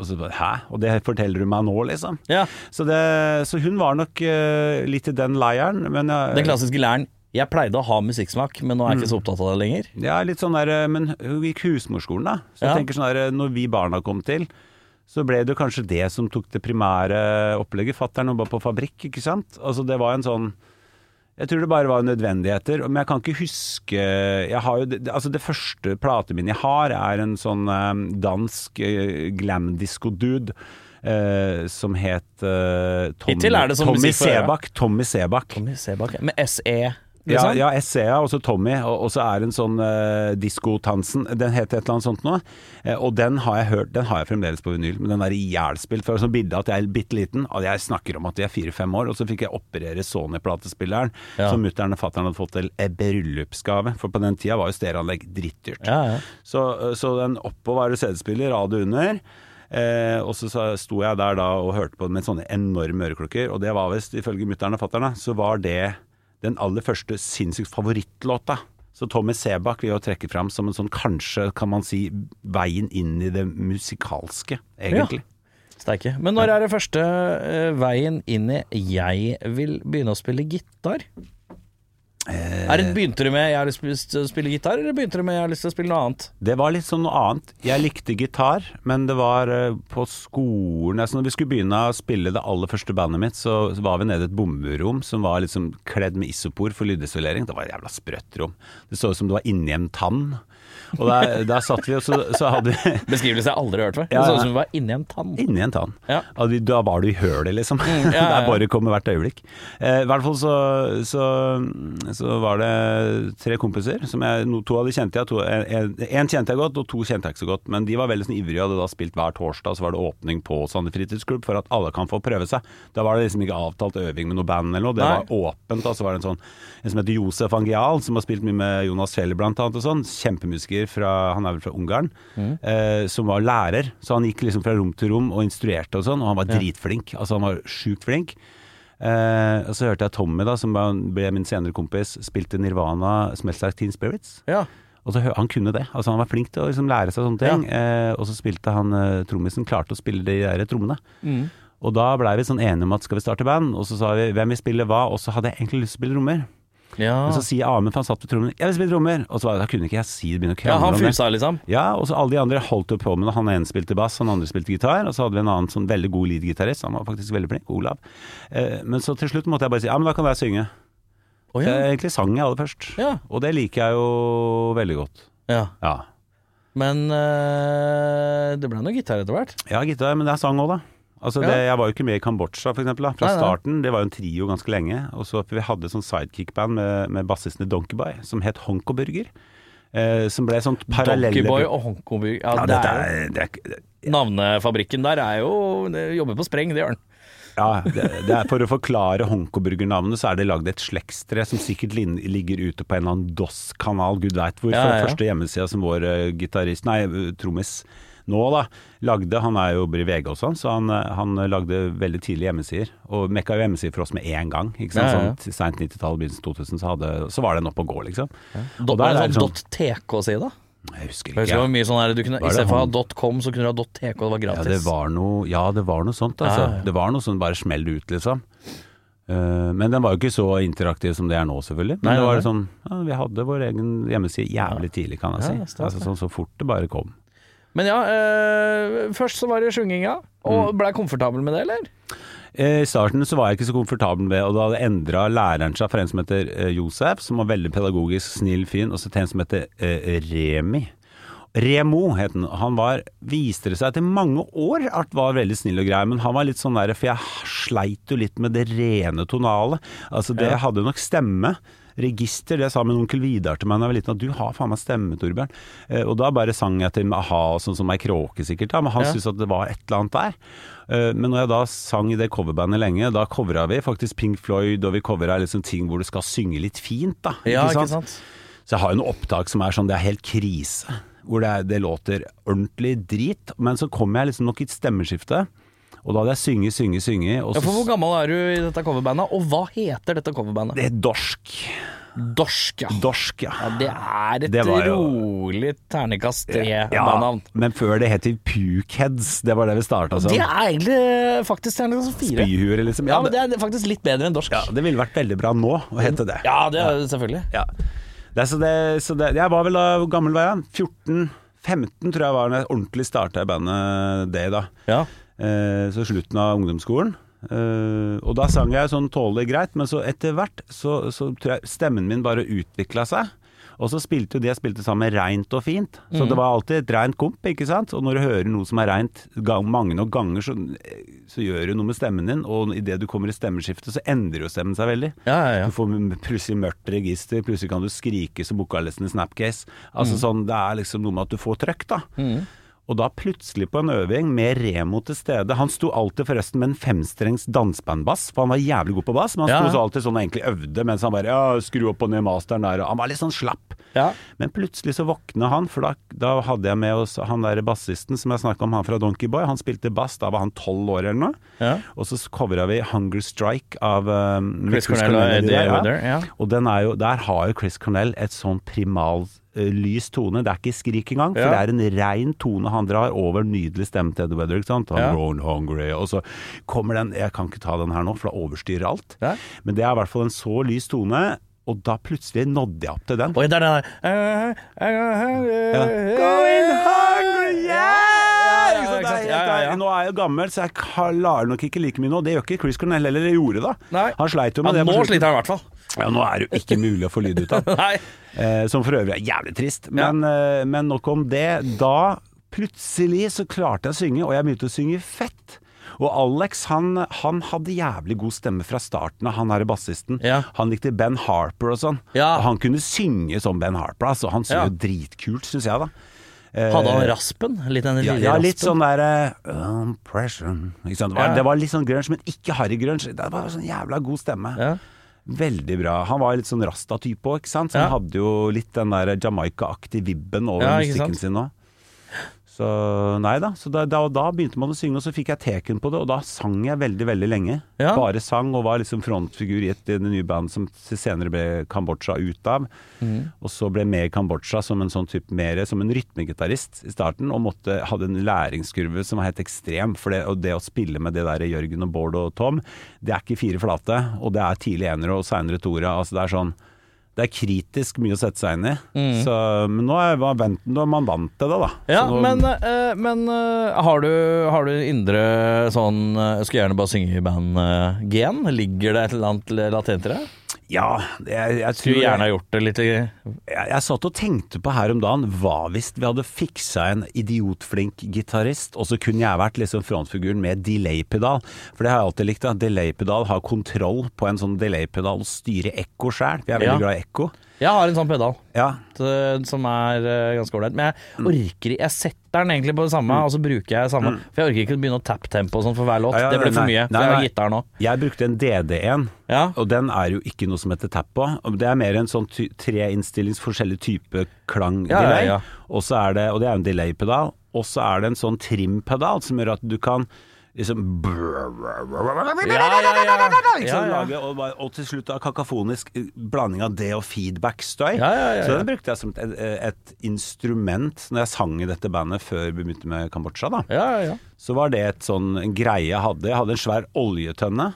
D: Og så bare, hæ? Og det forteller du meg nå, liksom?
C: ja.
D: Så, det, så hun var nok eh, litt i den leiren, men jeg,
C: Den klassiske læren Jeg pleide å ha musikksmak, men nå er jeg ikke så opptatt av det lenger.
D: Ja, litt sånn der, men hun gikk husmorskolen da. Så
C: Ja.
D: jeg tenker sånn der, når vi barna kom til, så ble det jo kanskje det som tok det primære opplegget. Fatteren var på fabrikk, ikke sant? Altså det var en sånn, jeg tror det bare var nødvendigheter, men jeg kan ikke huske, jeg har jo, det- altså det første platet min jeg har er en sånn eh, dansk eh, glam-disco-dude. eh, som het eh, Tommy,
C: Hittil er det som
D: Tommy
C: musikk for øret.
D: Sebak Tommy Sebak
C: Tommy Sebak Med SE,
D: ja,
C: liksom?
D: ja, Essea og så Tommy, og, og så er det en sånn uh, diskotansen, den heter et eller annet sånt nå. Eh, og den har jeg hørt, den har jeg fremdeles på vinyl, men den er ihjelspilt. For sånn bilde at jeg er bitte liten, og jeg snakker om at jeg er fire-fem år, og så fikk jeg operere Sony-platespilleren
C: Ja.
D: som mutter'n og fatter'n hadde fått til eh, bryllupsgave. For på den tida var jo stereoanlegg drittdyrt.
C: Ja, ja.
D: Så, eh, så den oppå var det CD-spiller, radio under. Eh, og så sa- sto jeg der da og hørte på med sånne enorme øreklokker, og det var visst, ifølge mutter'n og fatter'n, så var det den aller første sinnssykt favorittlåta. Så Tommy Sebak vil jo trekke fram som en sånn kanskje, kan man si, veien inn i det musikalske, egentlig.
C: Steike. Men når er det første eh, veien inn i 'jeg vil begynne å spille gitar'?
D: Eh.
C: Er det, begynte du med 'jeg har lyst til å sp- spille gitar', eller begynte du med 'jeg har lyst til å spille noe annet'?
D: Det var litt sånn noe annet. Jeg likte gitar, men det var eh, på skolen altså Når vi skulle begynne å spille det aller første bandet mitt, så så var vi nede i et bomberom som var liksom kledd med isopor for lydisolering. Det var et jævla sprøtt rom. Det så ut som du var inni en tann. Og der, der satt vi, og så, så hadde vi [LAUGHS]
C: Beskrivelse jeg aldri har hørt før. Det
D: Ja,
C: så
D: ja.
C: ut som vi var inni en tann.
D: Inni en tann.
C: Ja. Mm,
D: Ja, du- Da var du i hølet, liksom.
C: ja, ja, ja.
D: [LAUGHS] Der bare kommer hvert øyeblikk. Eh, I hvert fall så, så, så var det tre kompiser. Som jeg, no, to av de kjente jeg. To, en, en kjente jeg godt, og to kjente jeg ikke så godt. Men de var veldig sånn ivrige og hadde da spilt hver torsdag. Så var det åpning på Sande fritidsklubb for at alle kan få prøve seg. Da var det liksom ikke avtalt øving med noe band eller noe. Det
C: Nei.
D: var åpent. Da. Så var det en sånn en som heter Josef Angial, som har spilt mye med Jonas Scheller blant annet og sånn. Kjempemusiker fra Han er vel fra Ungarn. Eh, som var lærer. Så han gikk liksom fra rom til rom og instruerte og sånn. Og han var dritflink. Altså han var sjukt flink. Eh, og så hørte jeg Tommy, da, som ble min senere kompis, spilte Nirvana 'Smells Like Teen Spirits'.
C: Ja.
D: Og så hø- Han kunne det. Altså Han var flink til å liksom lære seg sånne ting. Eh, og så spilte han eh, trommisen, klarte å spille de der trommene.
C: Mm.
D: Og da blei vi sånn enige om at skal vi starte band, og så sa vi hvem vil spille hva, og så hadde jeg egentlig lyst til å spille trommer.
C: Ja.
D: Men så sier Amund, for han satt ved trommen, 'jeg vil spille trommer', og så var det, da kunne ikke jeg si det, begynne å
C: ja,
D: krangle
C: han
D: om det.
C: fusa, liksom.
D: Ja, og så alle de andre holdt jo på med det. Han ene spilte bass, han andre spilte gitar. Og så hadde vi en annen sånn veldig god lead-gitarist, han var faktisk veldig flink, Olav. Eh, men så til slutt måtte jeg bare si ja, men da kan jeg synge.
C: Å,
D: Det
C: ja.
D: er egentlig sang jeg aller først.
C: Ja.
D: Og det liker jeg jo veldig godt.
C: ja.
D: Ja,
C: Men eh, det ble noe gitar etter hvert.
D: ja gitar, men det er sang òg, da. Altså
C: Ja.
D: det, Jeg var jo ikke med i Kambodsja for eksempel, da, fra
C: Nei, nei.
D: starten. Det var jo en trio ganske lenge. Og så Vi hadde et sånt sidekick-band med, med bassisten i Donkeyboy som het Honko Burger. Eh, som ble sånt parallelle
C: Donkeyboy og Hongkongby. Ja,
D: ja,
C: det
D: dette
C: er
D: er, det er,
C: jo Navnefabrikken der er jo det jobber på spreng, det gjør den.
D: Ja, det, det er For å forklare Honkoburger-navnet, så er det lagd et slektstre som sikkert lin, ligger ute på en eller annen DOS-kanal, gud veit hvor.
C: Ja,
D: for
C: ja, ja.
D: Første hjemmesida som vår eh, gitarist, nei, eh, trommis nå, da, lagde. Han er jo i VG og sånn, så han, eh, han lagde veldig tidlige hjemmesider. Og mekka jo hjemmesider for oss med en gang. ikke
C: Ja,
D: sant?
C: ja, ja.
D: Sånn til Seint 90-tall, begynnelsen 2000, så, hadde, så var den oppe og gå, liksom.
C: Dot,
D: der
C: er det
D: er det
C: sånn
D: sånn-
C: dot .tk-side?
D: Jeg husker
C: Jeg
D: ikke.
C: husker det var mye sånn her, du kunne,
D: Hva er
C: I
D: det
C: stedet for å
D: han-
C: ha .com, så kunne du ha .tk, og det var
D: Ja
C: gratis.
D: det, var noe, ja, det var noe sånt, altså.
C: Ja, ja.
D: Det var noe sånn bare smell det ut, liksom. Eh, men den var jo ikke så interaktiv som det er nå, selvfølgelig. Men
C: Nei,
D: det
C: nei,
D: var
C: nei.
D: sånn ja, Vi hadde vår egen hjemmeside jævlig tidlig, kan jeg si.
C: Ja, stas,
D: altså, sånn så fort det bare kom.
C: Men ja, eh, først så var det sjunginga,
D: Mm.
C: og ble jeg komfortabel med det, eller?
D: Eh, I starten så var jeg ikke så komfortabel med Og da hadde endra læreren seg fra en som heter eh, Josef, som var veldig pedagogisk, snill, fin, og så til en som heter eh, Remi. Remo het han. Han var, viste det seg etter mange år at var veldig snill og grei, men han var litt sånn der, for jeg sleit jo litt med det rene tonalet. Altså det hadde nok stemme. Register, det sa min onkel Vidar til meg da jeg var liten, at du har faen meg stemme, Torbjørn. Eh, og da bare sang jeg til med a-ha og sånn som ei kråke sikkert, da, men han
C: Ja.
D: syntes at det var et eller annet der. Eh, men når jeg da sang i det coverbandet lenge, da covra vi faktisk Pink Floyd, og vi covra liksom ting hvor du skal synge litt fint, da. Så jeg har jo noen opptak som er sånn, det er helt krise. Hvor det, er, det låter ordentlig drit. Men så kom jeg liksom nok i et stemmeskifte. Og da hadde jeg synge, synge, synge. Og
C: Ja,
D: så
C: for Hvor gammel er du i dette coverbandet, og hva heter dette coverbandet?
D: Det er dorsk.
C: Dorsk, ja.
D: Dorsk, ja.
C: ja. Det er et
D: Det var jo-
C: rolig ternekast
D: ja.
C: tre-bandnavn.
D: Men før det het de Pukheads. Det var det vi starta som.
C: Det er egentlig eh, faktisk ternekast fire.
D: Byhuer, liksom.
C: Ja,
D: Ja,
C: men
D: det,
C: det er faktisk litt bedre enn dorsk.
D: ja, det ville vært veldig bra nå å hete det.
C: Ja, det er selvfølgelig.
D: Ja. Det, er så det, så det, jeg var vel da hvor gammel var jeg? 14-15 tror jeg var da jeg ordentlig starta i bandet det da.
C: Ja.
D: Eh, så slutten av ungdomsskolen. Eh, og da sang jeg sånn tålelig greit, men så etter hvert så, så tror jeg stemmen min bare utvikla seg. Og så spilte jo de jeg spilte sammen med reint og fint.
C: Mm.
D: Så det var alltid et reint komp, ikke sant. Og når du hører noe som er reint gang, mange nok ganger, så, så gjør det noe med stemmen din. Og idet du kommer i stemmeskiftet, så endrer jo stemmen seg veldig.
C: Ja, ja, ja.
D: Du får plutselig mørkt register, plutselig kan du skrike som vokalisten i Snapcase. Altså sånn, Det er liksom noe med at du får trøkk, da. Og da plutselig på en øving, med Remo til stede Han sto alltid forresten med en femstrengs dansebandbass, for han var jævlig god på bass, men han
C: Ja.
D: sto så alltid sånn og egentlig øvde mens han bare ja, 'skru opp og ned masteren der', og han var litt sånn slapp.
C: Ja.
D: Men plutselig så våkna han, for da, da hadde jeg med oss han der bassisten som jeg snakka om, han fra Donkeyboy. Han spilte bass, da var han tolv år eller noe.
C: Ja.
D: Og så covra vi 'Hunger Strike' av um,
C: Chris Cornell og Eddie Vedder, ja.
D: Og den er jo, der har jo Chris Cornell et sånn primal eh, lys tone. Det er ikke skrik engang, for
C: Ja.
D: det er en rein tone han drar over en nydelig stemme til Eddie Vedder. Ikke sant? Han
C: Ja.
D: grown hungry, og så kommer den Jeg kan ikke ta den her nå, for da overstyrer alt.
C: Ja.
D: Men det er i hvert fall en så lys tone, og da plutselig nådde jeg opp til den.
C: Oi, der, der, der.
D: Ja. Going hungry, yeah!
C: ja,
D: Ikke sant?
C: ikke sant?
D: Det er helt-
C: Ja, ja, ja.
D: Nå er jeg jo gammel, så jeg klarer nok ikke like mye nå. Det gjør ikke Chris Cornell heller, eller gjorde da.
C: Nei.
D: Han sleit jo
C: Ja,
D: med det. på
C: nå
D: slutten.
C: sliter jeg i hvert fall. [LAUGHS]
D: Ja, nå er det jo ikke mulig å få lyd ut av.
C: Nei.
D: Eh, som for øvrig er jævlig trist. Men, eh, men nok om det. Da plutselig så klarte jeg å synge, og jeg begynte å synge fett. Og Alex han, han hadde jævlig god stemme fra starten av, han her bassisten.
C: Ja.
D: Han likte Ben Harper og sånn.
C: Ja.
D: Og han kunne synge som Ben Harper, altså. Han synger
C: Ja.
D: jo dritkult, syns jeg, da. Eh,
C: Hadde han raspen? Litt den
D: ja,
C: lille
D: ja, litt
C: raspen?
D: sånn derre Impression. Ikke sant? Det,
C: Ja.
D: var, det var litt sånn grunge, men ikke harry grunge. Det var sånn jævla god stemme.
C: Ja.
D: Veldig bra. Han var litt sånn rasta-type òg, ikke sant. Så
C: Ja.
D: Han hadde jo litt den der Jamaica-aktig vibben over
C: Ja, ikke
D: musikken
C: sant?
D: sin òg. Så nei da. Så da, da, og da begynte man å synge, og så fikk jeg teken på det, og da sang jeg veldig, veldig lenge.
C: Ja.
D: Bare sang, og var liksom frontfigur i et i det nye band som senere ble Kambodsja ut av.
C: Mm.
D: Og så ble jeg med i Kambodsja som en sånn type mer som en rytmegitarist i starten, og måtte, hadde en læringskurve som var helt ekstrem. For det, og det å spille med det der Jørgen og Bård og Tom, det er ikke fire flate, og det er tidlig enere og seinere toere. Altså det er sånn det er kritisk mye å sette seg inn i. Så, men nå er man vant, nå er man vant til det, da.
C: Mm. Ja,
D: Så nå,
C: men, eh, men eh, har, du, har du indre sånn eh, Jeg skulle gjerne bare synge i band-gen. Ligger det et eller annet latent i det?
D: ja, jeg, jeg tror
C: Skulle gjerne ha gjort det litt i
D: jeg, jeg satt og tenkte på her om dagen, hva hvis vi hadde fiksa en idiotflink gitarist, og så kunne jeg vært liksom frontfiguren med delay-pedal? For det har jeg alltid likt, at delay-pedal har kontroll på en sånn delay-pedal og styre ekko sjæl. Jeg er veldig
C: Ja.
D: glad i ekko.
C: Jeg har en sånn pedal
D: Ja.
C: eh, som er eh, ganske ålreit, men jeg orker ikke Jeg setter den egentlig på det samme, og så bruker jeg det samme. For jeg orker ikke å begynne å tappe tempo og sånn for hver låt.
D: Ja, ja,
C: det blir
D: nei,
C: for mye.
D: nei,
C: for jeg har
D: nei.
C: gitar nå.
D: Jeg brukte en DD1,
C: Ja.
D: og den er jo ikke noe som heter tap på. Det er mer en sånn ty- treinnstillingens forskjellig type
C: Ja,
D: klang-delay.
C: ja, ja.
D: Og så er det, og det er jo en delay-pedal, og så er det en sånn trim-pedal som gjør at du kan liksom Ikke
C: Ja,
D: sant?
C: ja.
D: Lage- Og, bare- og til slutt da kakafonisk eh, blanding av det og feedback-støy.
C: Ja, ja, ja,
D: Så
C: ja.
D: den brukte jeg som et, et instrument når jeg sang i dette bandet før vi begynte med Kambodsja. da
C: Ja, ja, ja.
D: så var det et sånn en greie jeg hadde. Jeg hadde en svær oljetønne,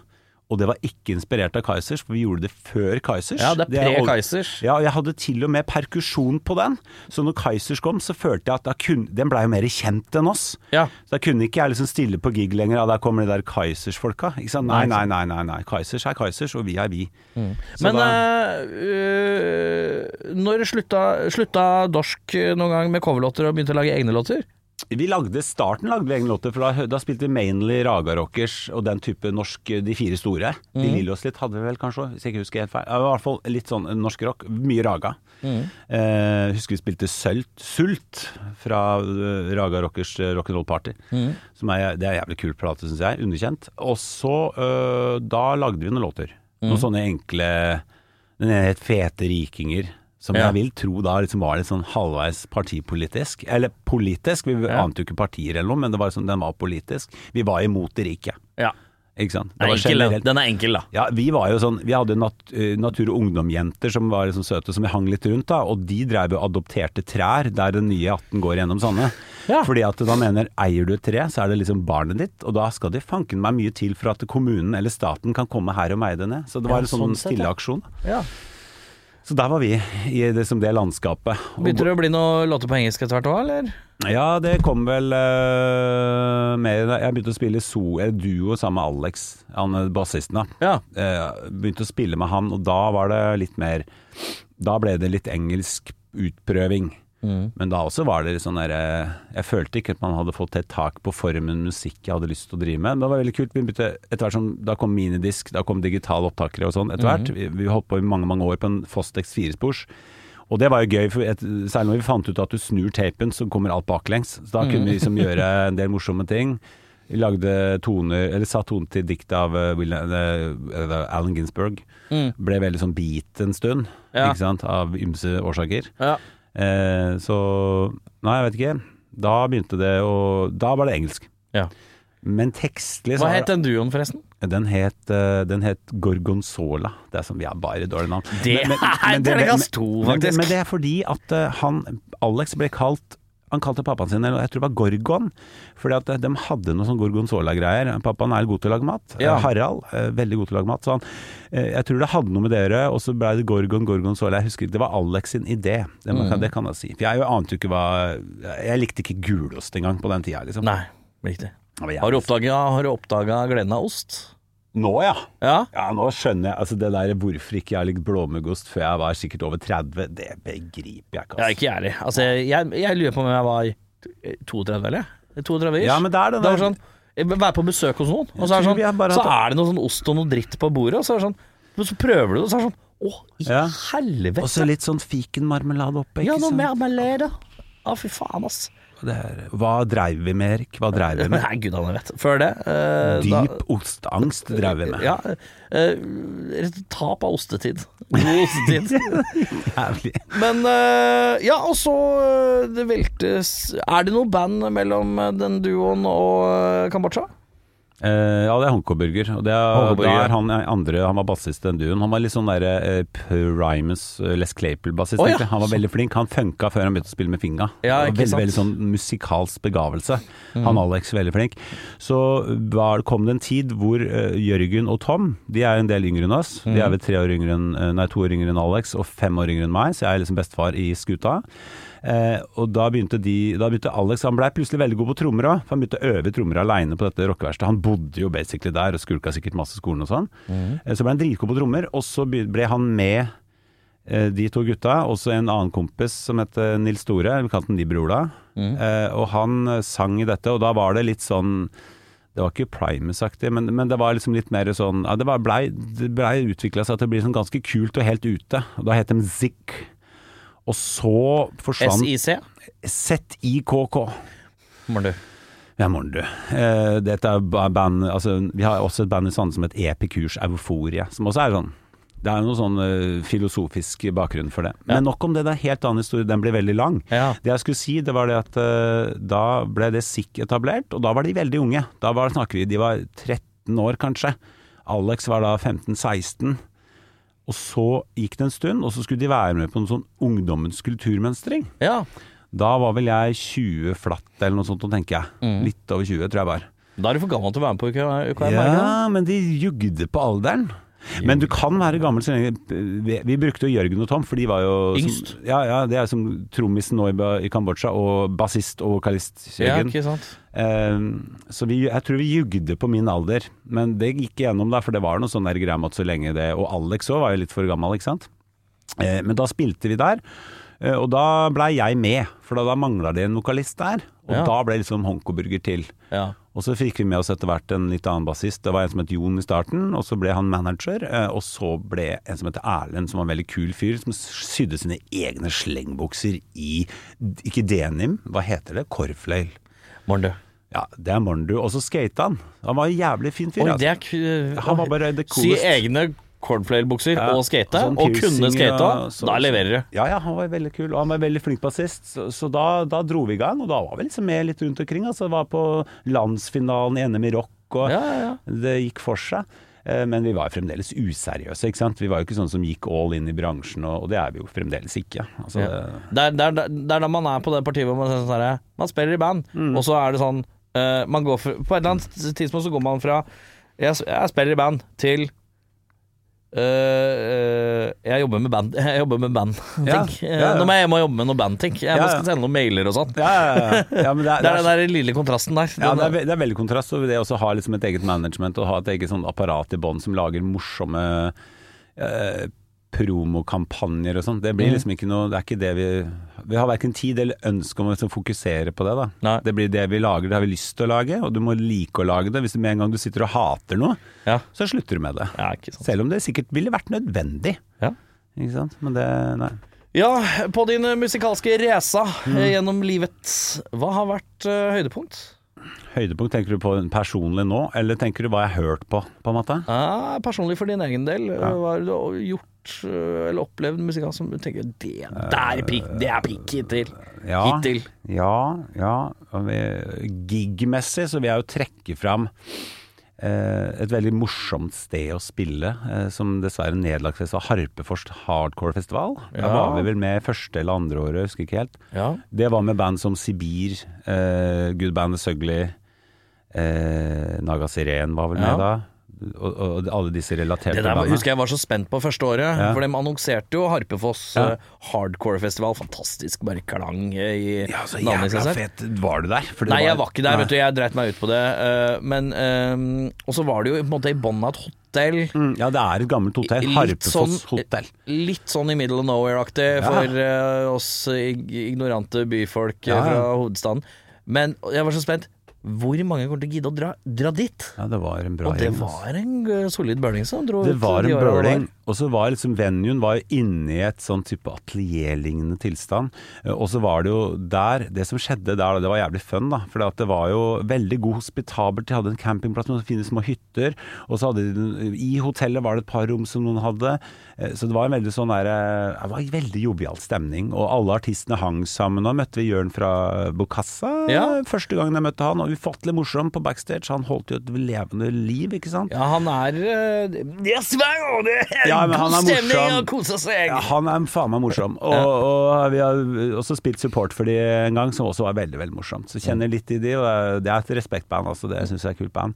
D: og det var ikke inspirert av Kaizers, for vi gjorde det før Kaizers.
C: Ja, det er
D: ol-
C: pre-Kaizers.
D: Ja, og jeg hadde til og med perkusjon på den, så når Kaizers kom, så følte jeg at da kun, den blei jo mer kjent enn oss.
C: Ja.
D: Så da kunne ikke jeg liksom stille på gig lenger, ja, der kommer de der Kaizers-folka. Ikke sant? Nei, nei, nei, nei, nei. Kaizers er Kaizers, og vi er vi. Så
C: Mm. Men
D: da-
C: eh, øh, når slutta, slutta Dorsk eh, noen gang med coverlåter og begynte å lage egne låter?
D: Vi lagde, starten lagde vi egne låter, for da, da spilte vi mainly Raga Rockers og den type norsk De fire store. De lille oss litt hadde vi vel kanskje, hvis jeg ikke husker helt feil. Ja, I hvert fall litt sånn norsk rock. Mye Raga. Eh, husker vi spilte Sult, Sult fra eh, Raga Rockers eh, Rock'n'Roll Party. Som er, det er en jævlig kul plate, syns jeg. Underkjent. Og så, eh, da lagde vi noen låter. Noen sånne enkle Den ene het Fete rikinger. Som
C: Ja.
D: jeg vil tro da liksom var litt sånn halvveis partipolitisk. Eller politisk, vi ante jo ikke partier eller noe, men det var sånn, den var politisk. Vi var imot det rike,
C: Ja.
D: ikke sant.
C: Den
D: var
C: er enkel,
D: generelt-
C: den. den er enkel, da.
D: ja, vi var jo sånn, vi hadde nat eh, natur- og ungdomjenter som var liksom søte, som vi hang litt rundt da, og de drev jo og adopterte trær der den nye 18 går gjennom sånne.
C: Ja.
D: Fordi at da mener, eier du et tre, så er det liksom barnet ditt, og da skal det fanken meg mye til for at kommunen eller staten kan komme her og meie det ned. Så det
C: Ja,
D: var en sånn,
C: sånn sett,
D: stille
C: ja.
D: aksjon.
C: Ja.
D: Så der var vi, i det, som det landskapet. Og-
C: Begynte det å bli noen låter på engelsk etter hvert òg, eller?
D: Ja, det kom vel eh, mer Jeg begynte å spille so, eh, duo sammen med Alex, han eh, bassisten da.
C: Ja.
D: Eh, begynte å spille med han, og da var det litt mer Da ble det litt engelsk utprøving. Men da også var det sånn derre Jeg følte ikke at man hadde fått helt tak på formen musikk jeg hadde lyst til å drive med. Men det var veldig kult. Vi begynte etter hvert som Da kom minidisk, da kom digitale opptakere og sånn etter hvert. Vi, vi holdt på i mange, mange år på en Fostex firespors. Og det var jo gøy, for et, særlig når vi fant ut at du snur tapen, så kommer alt baklengs. Så da kunne
C: Mm.
D: vi liksom gjøre
C: [LAUGHS]
D: en del morsomme ting. Vi lagde toner, eller sa toner til dikt av eh, William, eh, eh, Allen Ginsberg. Ble veldig sånn beat en stund,
C: Mm. Ja.
D: ikke sant, av ymse årsaker.
C: Ja.
D: Eh, så Nei, jeg vet ikke. Da begynte det å Da var det engelsk.
C: Ja.
D: Men tekstlig så
C: Hva
D: har-
C: het den duoen, forresten?
D: den het, eh, den het Gorgonzola. Det er som vi har bare dårlige navn.
C: Det er terningkast to,
D: men, det-
C: faktisk.
D: men det er fordi at eh, han, Alex ble kalt han kalte pappaen sin, eller jeg tror det var Gorgon, fordi at eh, de hadde noe sånn gorgonzola-greier. Pappaen er god til å lage mat.
C: Ja.
D: Eh, Harald, eh, veldig god til å lage mat. Så han, eh, jeg tror det hadde noe med dere, og så ble det Gorgon, gorgonzola. Jeg husker ikke, det var Alex sin idé. Det,
C: Mm.
D: man kan- det kan jeg si. For jeg ante jo ikke hva Jeg likte ikke gulost engang på den tida, liksom.
C: Nei, riktig.
D: Det var jævlig
C: Har du oppdaga gleden av ost?
D: Nå, ja.
C: Ja.
D: Ja, nå skjønner jeg. Altså, det der hvorfor ikke jeg har ligget blåmuggost før jeg var sikkert over 30, det begriper jeg ikke.
C: Ja,
D: Altså.
C: ikke jeg heller. Altså, jeg, jeg lurer på om jeg var 32, eller? 32 ish.
D: Ja, men det er det
C: Det var
D: der.
C: sånn, jeg bør Være på besøk hos noen, og så er,
D: tror
C: det
D: vi har
C: sånn,
D: bare
C: så
D: hatt-
C: er det noe sånn ost og noe dritt på bordet, og så er det sånn Men så prøver du det, og så er det sånn Å, i
D: Ja.
C: helvete!
D: Og så litt sånn fikenmarmelade oppe.
C: ja,
D: Ikke
C: noe
D: sånn- sant?
C: mer marmelade. Å, fy faen, ass.
D: Det er, hva dreiv vi med, Erik? Hva dreiv vi
C: [LAUGHS]
D: med?
C: Nei, gud han vet. Før det eh,
D: Dyp ostangst dreiv vi
C: da,
D: med.
C: Ja. eh, tap av ostetid. God ostetid.
D: [LAUGHS] Jævlig.
C: Men eh, Ja, og så eh, Det veltes Er det noe band mellom eh, den duoen og eh, Kambodsja?
D: Eh, ja, det er Honkoburger. Og det er,
C: Honkoburger.
D: da er han andre Han var bassist enn duen. Han var litt sånn der eh, Primus, eh, Les Claypool-bassist.
C: Å, ja.
D: egentlig. Han var veldig flink. Han funka før han begynte å spille med finga.
C: Ja, ikke
D: veldig,
C: sant. Mm.
D: veldig sånn musikalsk begavelse. Han Alex, veldig flink. Så var, kom det en tid hvor eh, Jørgen og Tom, de er jo en del yngre enn oss.
C: Mm.
D: De er vel tre år yngre enn, eh, nei, to år yngre enn Alex og fem år yngre enn meg, så jeg er liksom bestefar i skuta. Eh, og da begynte, de, da begynte Alex Han blei plutselig veldig god på trommer òg. Han begynte å øve trommer aleine på dette rockeverkstedet. Han bodde jo basically der og skulka sikkert masse skolen og sånn.
C: Mm.
D: Eh, så ble han dritgod på trommer, og så be- ble han med eh, de to gutta, også en annen kompis som het eh, Nils Store, vi kalte han Nibrola. Eh, og han eh, sang i dette, og da var det litt sånn det var ikke Primus-aktig, men, men det var liksom litt mer sånn ja, Det var- blei ble utvikla seg til å bli sånn ganske kult og helt ute. Og da het de Zick. Og så forsvant
C: SIC?
D: ZIKK.
C: Kommer du.
D: Ja, morgen, du. Eh, dette er ba- band altså, Vi har også et band i Sande som heter Epikurs Euforie, som også er sånn Det er jo noe sånn eh, filosofisk bakgrunn for det. Men nok om det, det er en helt annen historie. Den blir veldig lang.
C: Ja.
D: Det jeg skulle si, det var det at eh, da ble det SIK etablert, og da var de veldig unge. Da var, snakker vi, de var 13 år kanskje. Alex var da 15-16. Og så gikk det en stund, og så skulle de være med på noe sånn ungdommens kulturmønstring.
C: Ja.
D: Da var vel jeg 20 flatt eller noe sånt, nå tenker jeg. Litt over 20, tror jeg var.
C: Da er du for gammel til å være med på UKM. er du ikke det?
D: Ja, men de jugde på alderen. Men du kan være gammel så lenge Vi vi brukte jo Jørgen og Tom, for de var jo
C: Yngst.
D: Som, ja, ja, det er som trommisen nå i, Ba- i Kambodsja, og bassist og vokalist
C: ja,
D: Jørgen.
C: ikke sant.
D: Eh, så vi, jeg tror vi jugde på min alder, men det gikk igjennom da, for det var noe sånn der greie med at så lenge det Og Alex òg var jo litt for gammel, ikke sant. Eh, men da spilte vi der, eh, og da blei jeg med, for da, da mangla det en vokalist der. Og
C: Ja.
D: da ble liksom Honkoburger til.
C: Ja.
D: Og så fikk vi med oss etter hvert en litt annen bassist. Det var en som het Jon i starten, og så ble han manager. eh, Og så ble en som het Erlend, som var en veldig kul fyr, som sydde sine egne slengbukser i Ikke denim, hva heter det? Korfløyl.
C: Morn, du.
D: Ja, det er Morndu. Og så skata han. Han var en jævlig fin fyr.
C: Oi,
D: altså.
C: det er ku...
D: Han var bare the
C: Sy
D: coolest.
C: egne cornflare-bukser
D: Ja,
C: og skate,
D: sånn
C: og kunne
D: piercing
C: skate,
D: og sånn.
C: da leverer du.
D: Ja, ja, han var veldig kul, og han var veldig flink bassist. Så, så da, da dro vi i gang, og da var vi liksom med litt rundt omkring. Altså, var på landsfinalen i NM i rock, og
C: Ja, ja, ja.
D: det gikk for seg. Eh, Men vi var jo fremdeles useriøse, ikke sant. Vi var jo ikke sånn som gikk all in i bransjen, og, og det er vi jo fremdeles ikke. Altså,
C: Ja. Det er- det er- det er da man er på det partiet hvor man, er sånn der, man spiller i band,
D: Mm.
C: og så er det sånn eh, man går fra, På et eller annet tidspunkt så går man fra Jeg, jeg spiller i band til eh, eh, jeg jobber med band [LAUGHS] Jeg jobber med band
D: Ja,
C: ting.
D: ja, ja.
C: Nå må jeg hjem og jobbe med noe bandting. Jeg
D: Ja,
C: må
D: ja.
C: skal sende noen mailer og sånn.
D: ja, ja, ja. ja,
C: [LAUGHS]
D: men det er,
C: Det er den der lille kontrasten der.
D: Ja,
C: Den-
D: det er, ve- det er veldig kontrast over det å ha liksom et eget management og ha et eget sånn apparat i bånn som lager morsomme eh, promokampanjer og sånn. Det
C: Mm.
D: blir liksom ikke noe Det er ikke det vi Vi har verken tid eller ønske om å liksom fokusere på det, da.
C: Nei.
D: Det blir det vi lager, det har vi lyst til å lage, og du må like å lage det. Hvis du med en gang du sitter og hater noe,
C: ja.
D: så slutter du med det.
C: ja, ikke sant.
D: Selv om det sikkert ville vært nødvendig.
C: Ja.
D: Ikke sant? Men det Nei.
C: Ja, på din eh, musikalske reise
D: Mm.
C: eh, gjennom livet, hva har vært eh, høydepunkt?
D: Høydepunkt, tenker du på personlig nå, eller tenker du hva jeg har hørt på, på en måte?
C: Ja, Ah, personlig for din egen del, eh, hva har du gjort eh, eller opplevd musikalsk som du tenker Det der er prikk, det er prikk hittil.
D: Eh, Ja.
C: Hittil.
D: Ja, ja. og vi- Gigmessig så vil jeg jo trekke fram eh, et veldig morsomt sted å spille, eh, som dessverre nedlagtes av Harpeforst Hardcore Festival. Da
C: Ja.
D: var vi vel med første eller andre året, jeg husker ikke helt.
C: Ja.
D: Det var med band som Sibir, eh, Good Band Sugly, eh, Naga Siren var vel med
C: Ja.
D: da. og, og alle disse relaterte
C: Det der var,
D: bandene.
C: husker jeg var så spent på første året,
D: Ja.
C: for de annonserte jo Harpefoss
D: Ja.
C: eh, Hardcore Festival. Fantastisk bare klang eh, i
D: Ja, så
C: navnet i seg
D: jævla
C: selv.
D: fett Var du der? For det
C: Nei, jeg var ikke der,
D: Nei.
C: vet du. Jeg dreit meg ut på det. eh, men eh, Og så var det jo på en måte i bånn av et hotell.
D: Mm, Ja, det er et gammelt hotell. Harpefoss hotell.
C: sånn- Litt sånn i middle of nowhere-aktig
D: Ja.
C: for eh, oss ig ignorante byfolk eh,
D: Ja, ja.
C: fra hovedstaden. Men jeg var så spent. Hvor mange kommer til å gidde å dra, dra dit?
D: Ja, det var en bra
C: Og det
D: gjeng, altså.
C: var en eh, solid bøling som dro
D: Det
C: ut
D: var
C: de
D: en
C: åra det var.
D: bøling, og så var liksom venuen var jo inne i et sånn type atelierlignende tilstand. Eh, Og så var det jo der Det som skjedde der, da, det var jævlig fun, da. For det var jo veldig god hospitabelt. De hadde en campingplass med fine små hytter. Og så hadde de I hotellet var det et par rom som noen hadde. Eh, Så det var en veldig sånn der eh, Det var en veldig jovial stemning. Og alle artistene hang sammen. Og møtte vi Jørn fra Bocassa
C: Ja.
D: første gangen jeg møtte han. Og ufattelig morsom på backstage. Han holdt jo et levende liv, ikke sant.
C: Ja, han er eh, Det er svær, og det er
D: Ja, men
C: god
D: han er
C: stemning
D: morsom.
C: og koser seg.
D: Ja, han er faen meg morsom. Og, og vi har også spilt support for de en gang, som også var veldig veldig morsomt. Så kjenner litt i de, og det er et respektband, altså. Det syns jeg er et kult band.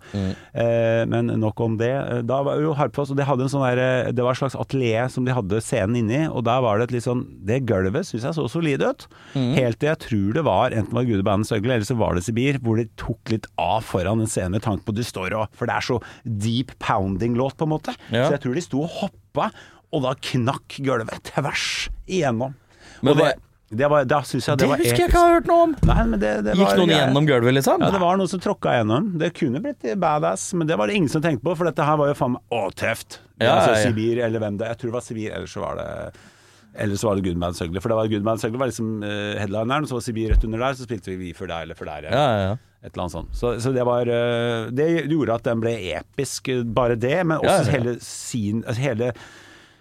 D: Eh, men nok om det. Da var jo Harpfoss, og de hadde en sånn der, det var et slags atelier som de hadde scenen inni, og der var det et litt sånn Det gulvet syns jeg så solid ut. Helt til jeg tror det var enten var Gudebandets øgle eller så var det Sibir, hvor de tok litt av foran en scene med tanke på at de står og For det er så deep pounding-låt, på en måte.
C: Ja.
D: Så jeg tror de sto og hoppa, og da knakk gulvet tvers igjennom.
C: Men
D: Og det,
C: hva-
D: det var, da syns jeg det,
C: det
D: var
C: husker jeg ikke
D: episk.
C: jeg har hørt noe om.
D: Nei, men det, det
C: Gikk
D: var
C: noen
D: greia.
C: gjennom gulvet, liksom?
D: Ja, det var noen som tråkka gjennom. Det kunne blitt badass, men det var det ingen som tenkte på, for dette her var jo faen meg å, tøft. Det er
C: Ja,
D: altså
C: ja, ja.
D: Sibir, eller hvem det Jeg tror det var Sibir, eller så var det eller så var det Goodman's Ugly. For det var Goodman's Ugly var liksom eh, headlineren, så var Sibir rett under der, så spilte vi Vi for deg eller for der.
C: Ja,
D: Eller.
C: ja, ja.
D: Et eller annet sånt. Så, så det var eh, Det gjorde at den ble episk, eh, bare det, men også
C: Ja, ja, ja.
D: hele sin altså hele,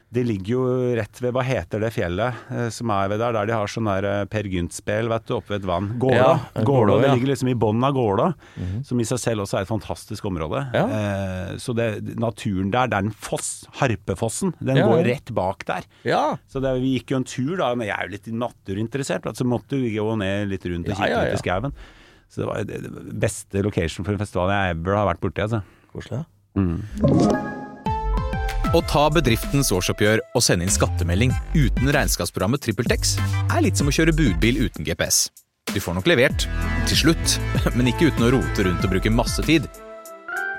D: det ligger jo rett ved Hva heter det fjellet eh, som er ved der? Der de har sånn der eh, Per Gynt-spel vet du, oppe ved et vann. Gålå.
C: Ja,
D: Gålå,
C: Gålå,
D: Det
C: ja. Mhm.
D: ligger liksom i bunnen av Gålå, som i seg selv også er et fantastisk område.
C: Ja.
D: Eh, Så det, naturen der, det er en foss, Harpefossen. Den
C: Ja,
D: går
C: ja.
D: rett bak der.
C: ja.
D: Så det, vi gikk jo en tur, da, men jeg er jo litt naturinteressert, da, så måtte vi gå ned litt rundt og
C: Ja,
D: kikke
C: ja,
D: litt i skauen. Så det var det det beste location for en festival jeg ever har vært borti, altså.
C: Koselig. ja.
E: Å ta bedriftens årsoppgjør og sende inn skattemelding uten regnskapsprogrammet TrippelTex er litt som å kjøre budbil uten GPS. Du får nok levert, til slutt, [LAUGHS] men ikke uten å rote rundt og bruke masse tid.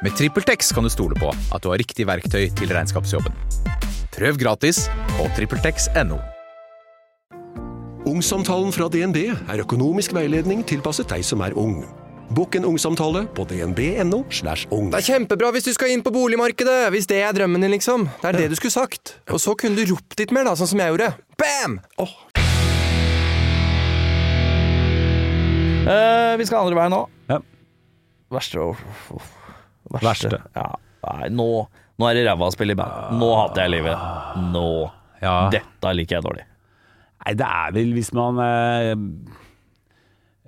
E: Med TrippelTex kan du stole på at du har riktig verktøy til regnskapsjobben. Prøv gratis på TrippelTex.no.
F: Ungsamtalen fra DNB er økonomisk veiledning tilpasset deg som er ung. Bokk en ungsamtale på dnb.no. slash ung.
G: Det er kjempebra hvis du skal inn på boligmarkedet, hvis det er drømmen din, liksom. Det er det du skulle sagt. Og så kunne du ropt litt mer, da, sånn som jeg gjorde. Bam! Åh,
C: Eh, vi skal andre veien nå.
D: Ja.
C: Verste uff, uff. Verste.
D: Verste.
C: Ja. Nei, nå, nå er det ræva å spille i band. Nå hater jeg livet. Nå.
D: Ja.
C: Dette liker jeg dårlig.
D: Nei, det er vel hvis man eh,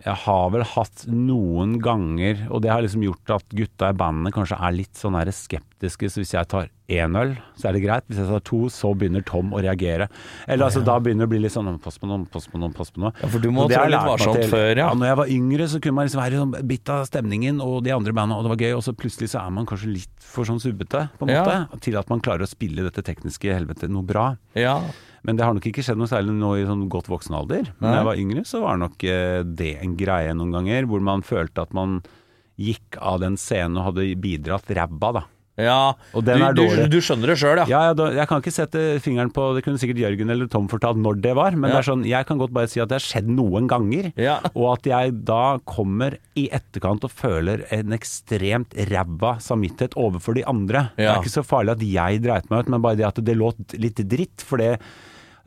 D: Jeg har vel hatt noen ganger, og det har liksom gjort at gutta i bandet kanskje er litt sånn her skeptiske, så hvis jeg tar én øl, så er det greit. Hvis jeg tar to, så begynner Tom å reagere. Eller altså, da begynner det å bli litt sånn Pass på noe, pass på noe, pass på noe.
C: Ja, for du må
D: Og det
C: trå
D: har jeg
C: litt
D: lært meg
C: varsomt
D: til.
C: før, ja.
D: ja. Når jeg var yngre, så kunne man liksom være sånn bitt av stemningen og de andre bandene, og det var gøy, og så plutselig så er man kanskje litt for sånn subbete, på en
C: Ja.
D: måte, til at man klarer å spille dette tekniske helvete noe bra.
C: Ja.
D: Men det har nok ikke skjedd noe særlig nå i sånn godt voksen alder. Men da jeg var yngre, så var nok eh, det en greie noen ganger, hvor man følte at man gikk av den scenen og hadde bidratt ræva, da.
C: ja.
D: Og den
C: du,
D: er
C: du,
D: dårlig.
C: du skjønner det sjøl, ja.
D: Ja, ja, da, jeg kan ikke sette fingeren på Det kunne sikkert Jørgen eller Tom fortalt når det var, men det er sånn, jeg kan godt bare si at det har skjedd noen ganger.
C: Ja.
D: Og at jeg da kommer i etterkant og føler en ekstremt ræva samvittighet overfor de andre. Det
C: Ja.
D: er ikke så farlig at jeg dreit meg ut, men bare det at det låt litt dritt. For det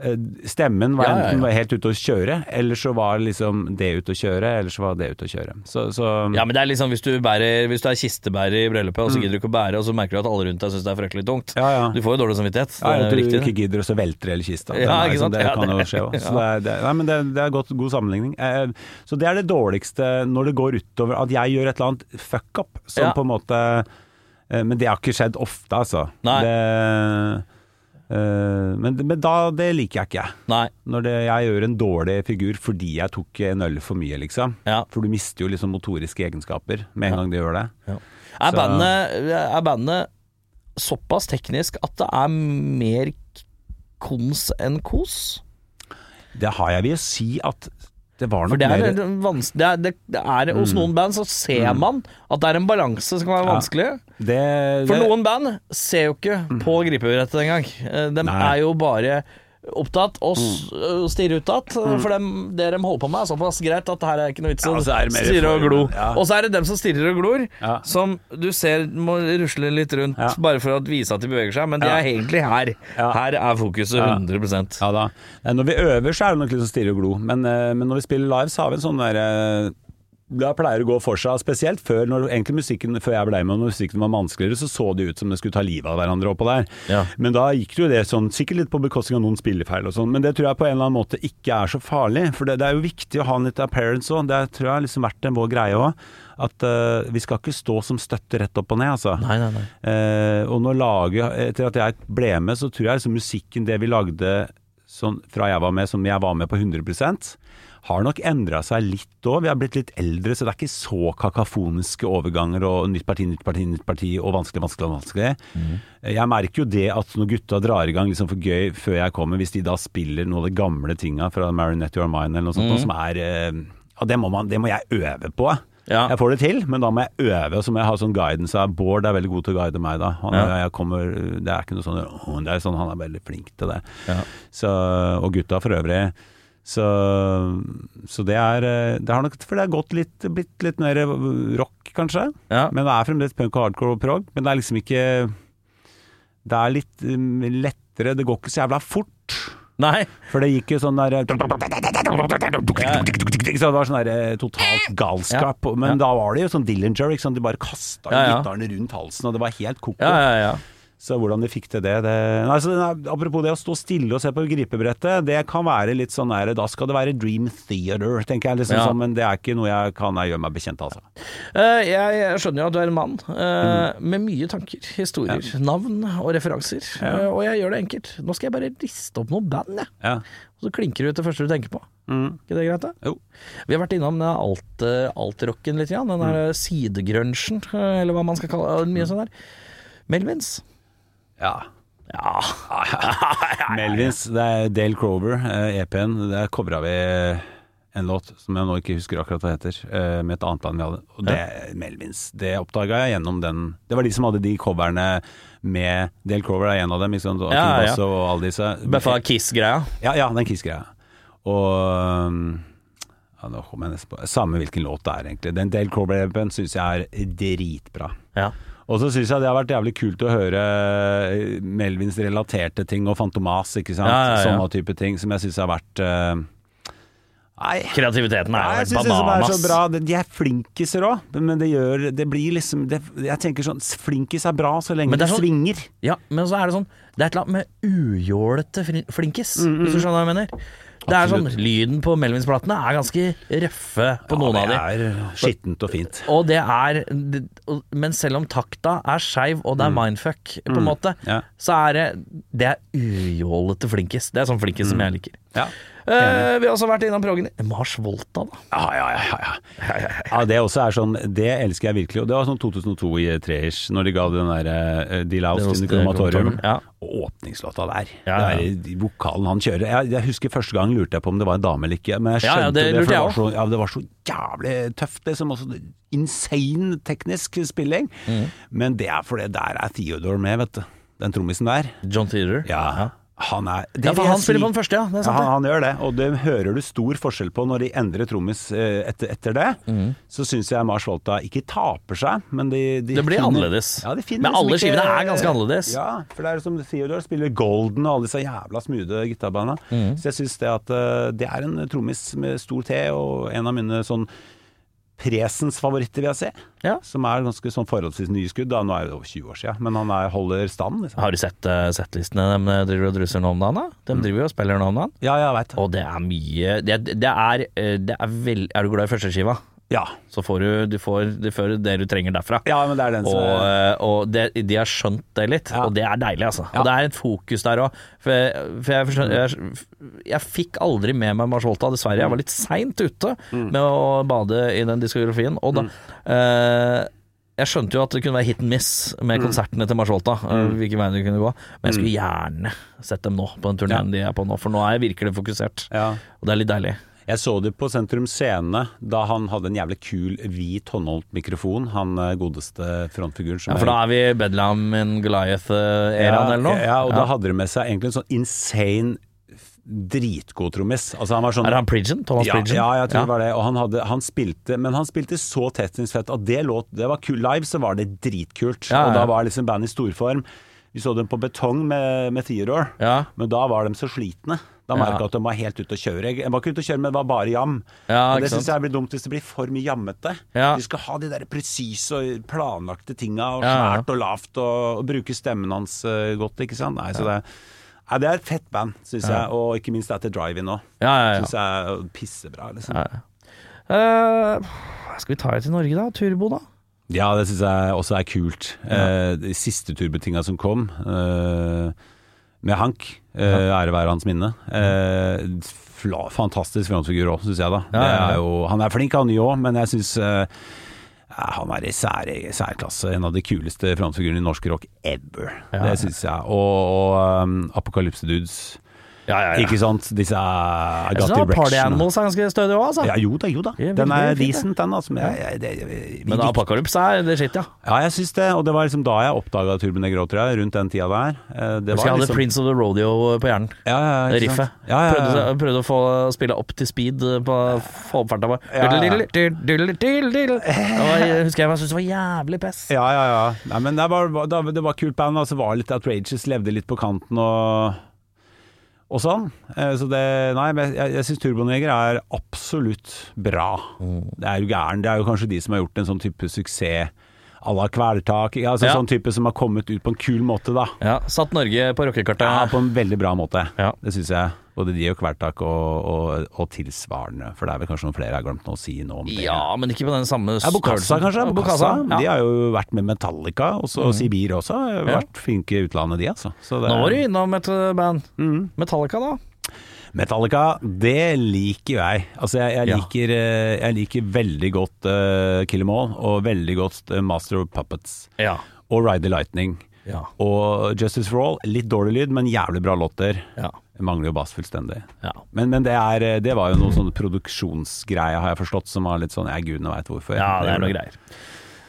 D: eh, Stemmen var
C: Ja, ja, ja.
D: enten var helt ute å kjøre, eller så var liksom det ute å kjøre, eller så var det ute å kjøre. Så, så
C: Ja, men det er liksom hvis du, bærer, hvis du er kistebærer i bryllupet, og så gidder du ikke å bære, og så merker du at alle rundt deg syns det er fryktelig tungt.
D: Mm. Ja, ja.
C: Du får jo dårlig samvittighet.
D: Ja,
C: det
D: at
C: er
D: du
C: jo riktig.
D: ikke gidder å så velter hele kista.
C: Ja,
D: Den er
C: ikke
D: sånn,
C: sant?
D: Det
C: Ja,
D: kan jo
C: det-
D: skje også. Så
C: ja.
D: det, er- det, nei, men det, det er godt, god sammenligning. Eh, Så det er det dårligste når det går utover at jeg gjør et eller annet fuck up, som
C: Ja.
D: på en måte eh, Men det har ikke skjedd ofte, altså.
C: Nei.
D: Det, eh, men, men da, det liker jeg ikke.
C: Nei.
D: Når det, jeg gjør en dårlig figur fordi jeg tok en øl for mye, liksom.
C: Ja.
D: For du mister jo liksom motoriske egenskaper med en gang du gjør det.
C: Er
D: Så-
C: bandet, er bandet såpass teknisk at det er mer k- kons enn kos?
D: Det har jeg vil si at det var
C: For
D: nok
C: det er,
D: mer Mm.
C: en vans- det er, det, det er Hos noen band så ser man at det er en balanse som kan være
D: Ja.
C: vanskelig.
D: det,
C: For
D: det-
C: noen band ser jo ikke på griperettet engang. Eh, De
D: Mm. Nei. Mm.
C: er jo bare opptatt og s- og stirre utad. eh, For dem, det de holder på med, er såpass greit at her er ikke noe vits i
D: Ja,
C: å
D: og så er det mer
C: stirre og glo.
D: formen, ja.
C: Og så er det dem som stirrer og glor,
D: Ja.
C: som du ser må rusle litt rundt
D: Ja.
C: bare for å vise at de beveger seg, men de
D: Ja.
C: er egentlig her.
D: Ja.
C: Her er fokuset 100
D: Ja da. Nei, Når vi øver, så er det nok litt sånn stirre og glo. Men, eh, men når vi spiller live, så har vi en sånn derre da pleier det å gå for seg, spesielt før, når, egentlig musikken, før jeg ble med, når musikken var vanskeligere, så så det ut som det skulle ta livet av hverandre oppå der.
C: Ja.
D: Men da gikk det jo det sånn, sikkert litt på bekostning av noen spillefeil og sånn, men det tror jeg på en eller annen måte ikke er så farlig, for det, det er jo viktig å ha en litt appearance òg, det tror jeg har liksom vært en vår greie òg, at eh, vi skal ikke stå som støtte rett opp og ned, altså.
C: Nei, nei, nei.
D: Eh, og når laget, etter at jeg ble med, så tror jeg liksom musikken, det vi lagde sånn, fra jeg var med, som jeg var med på 100 har nok endra seg litt òg. Vi har blitt litt eldre, så det er ikke så kakafoniske overganger og nytt parti, nytt parti, nytt parti og vanskelig, vanskelig, vanskelig. Jeg merker jo det at når gutta drar i gang liksom for gøy før jeg kommer, hvis de da spiller noen av de gamle tinga fra Marinette Your Mind eller noe sånt, som er eh, Ja, det må, man, det må jeg øve på.
C: Ja.
D: Jeg får det til, men da må jeg øve, og så må jeg ha sånn guidance. Og Bård er veldig god til å guide meg da. Han, jeg kommer, det er ikke noe sånn, «Åh», det er sånn Han er veldig flink til det. Så, og gutta for øvrig. Så, så det er eh, Det har nok For det har gått litt, blitt litt mer rock, kanskje.
C: Ja.
D: Men det er fremdeles punk og hardcore og prog. Men det er liksom ikke Det er litt um, lettere. Det går ikke så jævla fort.
C: nei.
D: For det gikk jo sånn der Ikke sant, Det var sånn der eh, totalt galskap. Men da var det jo sånn Dillinger. Ikke sant? De bare kasta
C: Ja, ja.
D: gitarene rundt halsen, og det var helt koko.
C: Ja, ja, ja.
D: Så hvordan de fikk til det, det Nei, så nei, Apropos det å stå stille og se på gripebrettet, det kan være litt sånn der, Da skal det være Dream Theater, tenker jeg. liksom
C: Ja.
D: sånn, Men det er ikke noe jeg kan jeg gjøre meg bekjent av. Altså.
C: Eh, jeg, jeg skjønner jo at du er en mann eh, med mye tanker, historier, navn og referanser. Eh, og jeg gjør det enkelt. Nå skal jeg bare liste opp noen band, jeg.
D: Ja.
C: Og så klinker det ut det første du tenker på. Ikke det greit, da?
D: Jo.
C: Vi har vært innom den alt, eh, alt-rocken litt, grann, den der eh, sidegrunchen, eh, eller hva man skal kalle det. Mye sånn der. Melvins.
D: ja.
C: Ja.
D: Melvins, det er Dale Crover, eh, EP-en. Der covra vi en låt som jeg nå ikke husker akkurat hva heter, eh, med et annet band vi hadde. Og det, Melvins, det oppdaga jeg gjennom den Det var de som hadde de coverne med Dale Crover er en av dem, ikke sant? Og
C: Ja,
D: Kim
C: ja.
D: Basso og alle disse.
C: Beffa Kiss-greia.
D: Ja, ja, den Kiss-greia. Og um, ja, nå kom jeg nesten på Samme hvilken låt det er, egentlig. Den Dale Corber-appen syns jeg er dritbra.
C: Ja.
D: Og så syns jeg det har vært jævlig kult å høre eh, Melvins relaterte ting og Fantomas, ikke sant.
C: Ja, ja, ja.
D: Sånne type ting som jeg syns har vært eh, Nei,
C: Kreativiteten
D: Nei,
C: er jo
D: jeg syns
C: helt
D: det som er så
C: bananas.
D: bra De de er flinkiser òg, men det gjør Det blir liksom det, Jeg tenker sånn Flinkis er bra så lenge
C: Men det
D: det,
C: er sånn-
D: svinger.
C: Ja, men så er det sånn Det er et eller annet med ujålete fri- flinkis, hvis du skjønner hva jeg mener. Det er sånn, Lyden på Melvins-platene er ganske røffe på noen av de.
D: Det er skittent og fint.
C: Og det er det- og- Men selv om takta er skeiv, og det er mindfuck, på en måte,
D: Ja.
C: så er det Det er ujålete flinkis. Det er sånn flinkis som jeg liker.
D: Ja.
C: Eh, vi har også vært innom proggen Mars Volta, da.
D: Ja, ja, ja, ja. ja, det også er sånn Det elsker jeg virkelig. Og det var sånn 2002-ish, når de ga den der eh, De Laus
C: Det
D: til
C: var-
D: Krematorium.
C: Ja.
D: Og åpningslåta der.
C: Ja, ja.
D: Det er i vokalen han kjører. Jeg, jeg husker første gang lurte jeg på om det var en dame eller ikke, men jeg
C: Ja,
D: skjønte
C: ja, det
D: det, for
C: lurte
D: det
C: jeg
D: var, så, ja, det var så jævlig tøft, liksom. Også insane teknisk spilling.
C: Mm.
D: Men det er fordi der er Theodore med, vet du. Den trommisen der.
C: John Theater.
D: Ja, han er det
C: Ja, for
D: vil jeg
C: han spiller
D: si-
C: på den første, ja. Det er sant,
D: han,
C: det.
D: han gjør det, og det hører du stor forskjell på når de endrer trommis eh, etter, etter det.
C: Mhm.
D: Så syns jeg Mars Volta ikke taper seg, men de, de
C: Det blir
D: finner-
C: annerledes.
D: Ja, de finner
C: Men
D: liksom
C: alle
D: ikke-
C: skivene er ganske annerledes.
D: Ja, for det er som Theodore spiller Golden og alle disse jævla smoothe gitarbanda.
C: Mhm.
D: Så jeg syns det at eh, det er en trommis med stor T, og en av mine sånn presens favoritter, vil jeg si.
C: Ja.
D: Som er ganske sånn forholdsvis nye skudd. Da. Nå er det over 20 år siden, men han er, holder stand. Liksom.
C: Har du sett eh, settlistene de driver og drusser nå om dagen? da? De driver jo og spiller nå om dagen.
D: Ja, jeg veit det.
C: Og det er mye Det, det er, eh, det er vel, Er du glad i førsteskiva,
D: Ja.
C: så får du, du, får, du får det du trenger derfra.
D: ja, men det er den som
C: Og, eh, og det, de har skjønt det litt,
D: Ja.
C: og det er deilig, altså.
D: Ja.
C: Og det er et fokus der òg. For, jeg- for jeg, forstår- jeg, jeg fikk aldri med meg Mars Volta, dessverre. Jeg var
D: Mm.
C: litt seint ute med å bade i den diskografien. Og da eh, jeg skjønte jo at det kunne være hit and miss med
D: Mm.
C: konsertene til Marsholta, eh, hvilken vei det kunne gå, men jeg skulle gjerne sett dem nå, på den turneen de er på nå, for nå er jeg virkelig fokusert,
D: Ja.
C: og det er litt deilig.
D: Jeg så det på Sentrum Scene da han hadde en jævlig kul hvit håndholdt mikrofon, han eh, godeste frontfiguren. som
C: Ja, for da er vi i Bedlam in Goliath-eraen eller noe.
D: Ja, og da hadde de med seg egentlig en sånn insane f- dritgod trommis. Altså han var sånn
C: Er han Pridgen? Thomas
D: ja,
C: Pridgen?
D: ja, jeg tror det var det. Og han, hadde, han spilte Men han spilte så tetningsfett at det låt Det var kul live, så var det dritkult.
C: Ja, ja.
D: Og da var liksom bandet i storform. Vi så dem på betong med, med Theodore,
C: Ja.
D: men da var de så slitne. Da merka jeg
C: Ja.
D: at de var helt ute å kjøre. Jeg jeg var ikke ute å kjøre, men det var bare jam.
C: Ja,
D: og det
C: ikke
D: syns
C: sant.
D: jeg blir dumt hvis det blir for mye jammete.
C: Ja.
D: De skal ha de der presise og planlagte tinga, og
C: Ja, ja.
D: svært og lavt, og, og bruke stemmen hans eh, godt, ikke sant. Nei, så det, nei, det er et fett band, syns jeg. Og ikke minst etter drive-in nå.
C: Ja, ja, ja.
D: Syns jeg er pissebra, liksom. Ja,
C: Eh, skal vi ta det til Norge, da? Turbo, da?
D: det syns jeg også er kult. Eh, de siste turbetinga som kom, eh, med Hank, eh, ære være hans minne.
C: Mm.
D: Eh, fla, fantastisk frontfigur òg, syns jeg, da.
C: Ja, ja, ja.
D: Det er jo, han er flink, han nye òg, men jeg syns eh, ja, han er i sær, særklasse. En av de kuleste frontfigurene i norsk rock ever. Det syns jeg. Og, og um, Apocalypse Dudes.
C: Ja, ja,
D: Ikke sant? Disse uh,
C: Jeg synes da altså, Party Animals er ganske stødig òg, altså.
D: Ja, jo da, jo da.
C: Det er
D: Den
C: veldig fint,
D: er
C: det.
D: decent, den. Altså. Men, jeg, jeg, det, vi-
C: Men
D: vi-
C: Apocalypse er det shit, ja.
D: ja, jeg syns det. Og det var liksom da jeg oppdaga Turbonegro, tror jeg. Rundt den tida der. Eh, Det
C: Jeg husker
D: var
C: jeg hadde
D: liksom
C: Prince of the Rodeo eh, på hjernen.
D: ja, ja, ja,
C: Det
D: ikke sant?
C: riffet.
D: Ja, ja, ja.
C: Prøvde, prøvde å få eh, spille opp til speed eh, på få opp farta. bare.
D: Ja, ja.
C: Det var- Jeg husker jeg bare syntes det var jævlig pess.
D: Ja, ja, ja. Nei, men det var, da- det var kult band. Altså, var litt outrageous, levde litt på kanten og, og sånn. Eh, Så det Nei, men jeg, jeg syns Turboneger er absolutt bra.
C: Mm.
D: Det er jo gæren. Det er jo kanskje de som har gjort en sånn type suksess à la Kvelertak. ikke? Altså,
C: Ja.
D: Sånn type som har kommet ut på en kul måte, da.
C: Ja, Satt Norge på rockekartet.
D: Ja, på en veldig bra måte.
C: Ja.
D: Det syns jeg. Både de og Kvelertak og, og, og tilsvarende. For det er vel kanskje noen flere jeg har glemt å si noe om det.
C: Ja, men ikke på den samme
D: Ja, Bokassa, kanskje. Bokassa.
C: Ja. Mhm.
D: De har jo vært med Metallica, og så Sibir også. Har
C: Ja.
D: vært flinke i utlandet, de, altså. Så det-
C: Nå var du innom et uh, band.
D: Mm.
C: Metallica, da?
D: Metallica, det liker jo jeg. Altså, jeg, jeg,
C: Ja.
D: liker, eh, jeg liker veldig godt eh, Kill Em All, og veldig godt eh, Master of Puppets,
C: Ja.
D: og Ride the Lightning.
C: Ja.
D: Og Justice for All, litt dårlig lyd, men jævlig bra låter.
C: Ja.
D: Jeg Mangler jo bass fullstendig.
C: Ja.
D: Men, men det, er, eh, det var jo noe sånn produksjonsgreie, har jeg forstått, som var litt sånn jeg gudene veit hvorfor.
C: det er noe greier.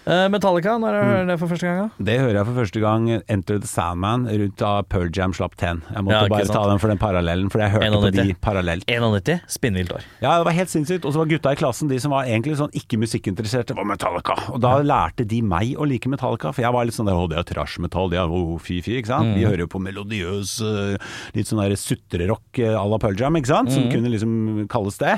C: Eh, Metallica, når jeg hører det for første gang? da?
D: Det hører jeg for første gang eh, Enter the Sandman rundt da Pearl Jam slapp 10. Jeg måtte
C: Ja, ikke
D: bare
C: sant.
D: ta den for den parallellen, for jeg hørte på
C: 91.
D: de parallelt.
C: 91, spinnvilt år.
D: Ja, det var helt sinnssykt. Og så var gutta i klassen, de som var egentlig sånn ikke musikkinteresserte, var Metallica. Og da lærte de meg å like Metallica, for jeg var litt sånn der, å det er trash-metall, det er jo fy-fy, ikke sant.
C: Mm.
D: De hører jo på melodiøs, eh, litt sånn der sutrerock eh, à la Pearl Jam, ikke sant,
C: Mm.
D: som kunne liksom kalles det.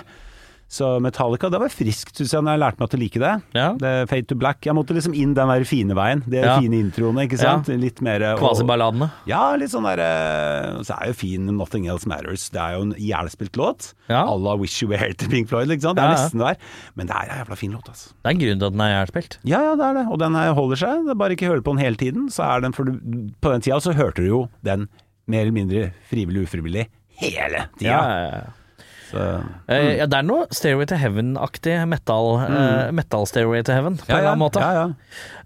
D: Så Metallica, det var friskt, syns jeg, når jeg lærte meg til å like det.
C: Ja.
D: det er Fade to Black. Jeg måtte liksom inn den der fine veien. De
C: Ja.
D: fine introene, ikke sant. Litt mer og-
C: Kvasiballadene.
D: Ja, litt sånn der eh, Så er jo fin Nothing Else Matters. Det er jo en jævlspilt låt.
C: Ja.
D: À la Wish You Were Here til Pink Floyd, ikke sant. Det er
C: Ja, ja.
D: nesten der. Men det er en jævla fin låt, altså.
C: Det er en grunn til at den er jævlspilt.
D: Ja, ja, det er det. Og den her holder seg. Det er bare ikke høre på den hele tiden. Så er den, for du, på den tida så hørte du jo den mer eller mindre frivillig ufrivillig hele tida.
C: ja, ja.
D: Så-
C: Eh, ja, det er noe Stairway to Heaven-aktig metal, eh, metal Stairway to Heaven, på
D: Ja,
C: en eller
D: ja,
C: annen måte.
D: ja, ja.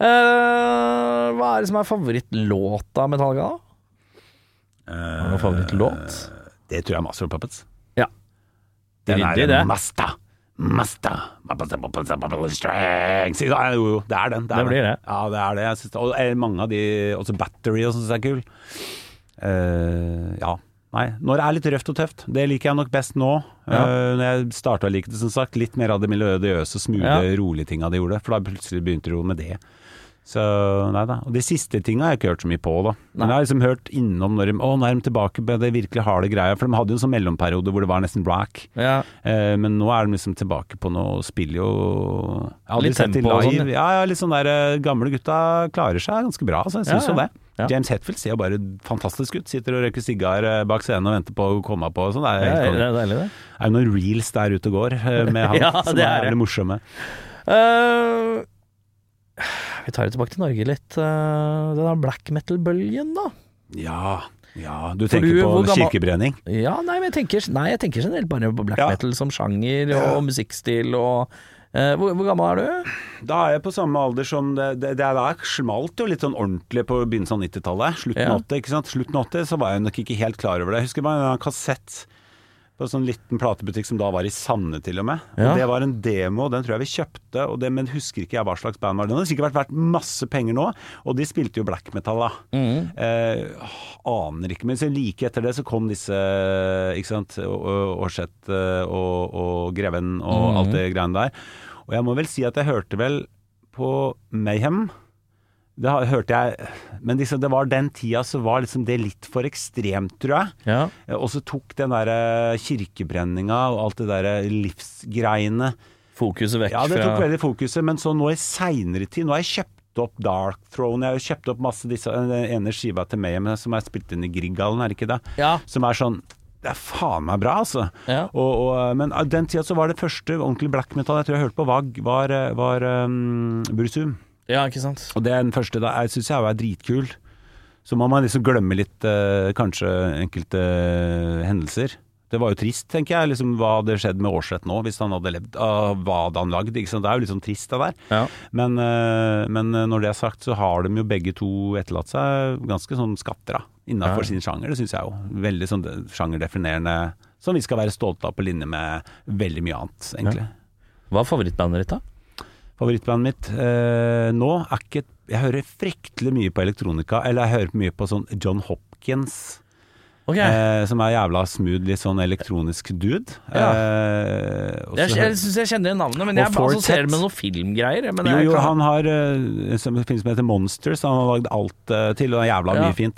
C: Eh, hva er det som er favorittlåta av Metallica, da? Har du noen favorittlåt?
D: Det tror jeg er Master of Puppets.
C: Ja.
D: Den
C: Ryddig,
D: er
C: det.
D: en master. Master. Strings. Ja, Jo, jo, det er den. er
C: Det blir det.
D: den. Ja, det er det. Jeg syns- og eh, mange av de Også Battery og sånn syns jeg er kul. Eh, ja. Nei. Når det er litt røft og tøft. Det liker jeg nok best nå.
C: Ja.
D: Eh, når jeg starta å like det, som sagt. Litt mer av det melodiøse, smule,
C: Ja.
D: rolige tinga de gjorde. For da plutselig begynte de jo med det. Så nei da. Og de siste tinga har jeg ikke hørt så mye på, da. Men jeg har liksom hørt innom når de Å, nå er de tilbake på det virkelig harde greia. For de hadde jo en sånn mellomperiode hvor det var nesten rock.
C: Ja.
D: Eh, men nå er de liksom tilbake på noe og spiller jo Jeg har aldri
C: Litt
D: sett de
C: tempo og
D: live.
C: sånn,
D: Ja, ja, litt sånn der eh, gamle gutta klarer seg ganske bra, altså. Jeg
C: Ja,
D: syns
C: ja.
D: jo det.
C: Ja.
D: James Hetfield ser jo bare fantastisk ut. Sitter og røyker sigar eh, bak scenen og venter på å komme på og sånn. Det
C: Det
D: er
C: er,
D: helt
C: det
D: konge.
C: er deilig, det.
D: Det er jo noen reels der ute og går eh,
C: [LAUGHS]
D: med han
C: Ja,
D: som
C: det
D: er
C: er det.
D: jævlig morsomme.
C: Eh, vi tar det tilbake til Norge litt. Uh, den der black metal-bølgen, da.
D: Ja, ja. Du
C: For
D: tenker
C: du, hvor
D: på
C: gammel-
D: kirkebrenning?
C: Ja, nei, men jeg tenker, nei, jeg tenker generelt bare på black
D: Ja.
C: metal som sjanger og musikkstil og Eh, hvor, hvor gammel er du?
D: Da er jeg på samme alder som Det, det, det der smalt jo litt sånn ordentlig på begynnelsen av 90-tallet. Slutten
C: Ja.
D: av 80, ikke sant? Slutten av 80 så var jeg nok ikke helt klar over det. Jeg husker bare en kassett på en sånn liten platebutikk som da var i Sande til og med.
C: Ja.
D: Og det var en demo, den tror jeg vi kjøpte, og det, men husker ikke jeg hva slags band var. Den hadde sikkert vært verdt masse penger nå, og de spilte jo black metal da. Eh, aner ikke, men så like etter det så kom disse, ikke sant, Å- Å- Aarseth eh, og, og Greven og alt det greiene der. Og jeg må vel si at jeg hørte vel på Mayhem, det har- hørte jeg, men liksom, det var den tida så var liksom det litt for ekstremt, tror jeg.
C: Ja.
D: Eh, Og så tok den der eh, kirkebrenninga og alt det der eh, livsgreiene
C: Fokuset vekk
D: Ja, det tok
C: fra
D: veldig fokuset, men så nå i seinere tid Nå har jeg kjøpt opp Dark Throne, jeg har jo kjøpt opp masse disse eh, Den ene skiva til meg men som er spilt inn i Grieghallen, er det ikke det?
C: Ja.
D: Som er sånn det er faen meg bra, altså.
C: Ja.
D: Og, og, eh, men av den tida så var det første ordentlig black metal jeg tror jeg hørte på, var, var, eh, var um, Bursum.
C: ja, ikke sant.
D: Og det er den første da, jeg syns jeg er dritkul. Så må man liksom glemme litt eh, kanskje enkelte eh, hendelser. Det var jo trist, tenker jeg, liksom, hva hadde skjedd med Aarseth nå hvis han hadde levd. Ah, hva hadde han lagd? Ikke sant? Det er jo litt sånn trist, det der.
C: Ja.
D: Men, eh, men når det er sagt, så har de jo begge to etterlatt seg ganske sånn skatter, da. Innafor sin sjanger, det syns jeg jo. Veldig sånn de- sjangerdefinerende. Som vi skal være stolte av, på linje med veldig mye annet, egentlig.
C: Hva er favorittbandet ditt, da?
D: Favorittbandet mitt eh, nå er ikke Jeg hører fryktelig mye på elektronika, eller jeg hører mye på sånn John Hopkins,
C: Ok,
D: eh, som er jævla smooth, litt sånn elektronisk dude.
C: Ja.
D: Eh, og så
C: Jeg,
D: hører-
C: jeg syns jeg kjenner igjen navnet, men
D: Og
C: jeg
D: Fortet.
C: assosierer det med noen filmgreier. Men
D: jo,
C: jeg
D: jo,
C: kan-
D: han har eh, som- en film som heter Monsters, han har lagd alt eh, til, og det er jævla
C: Ja.
D: mye fint.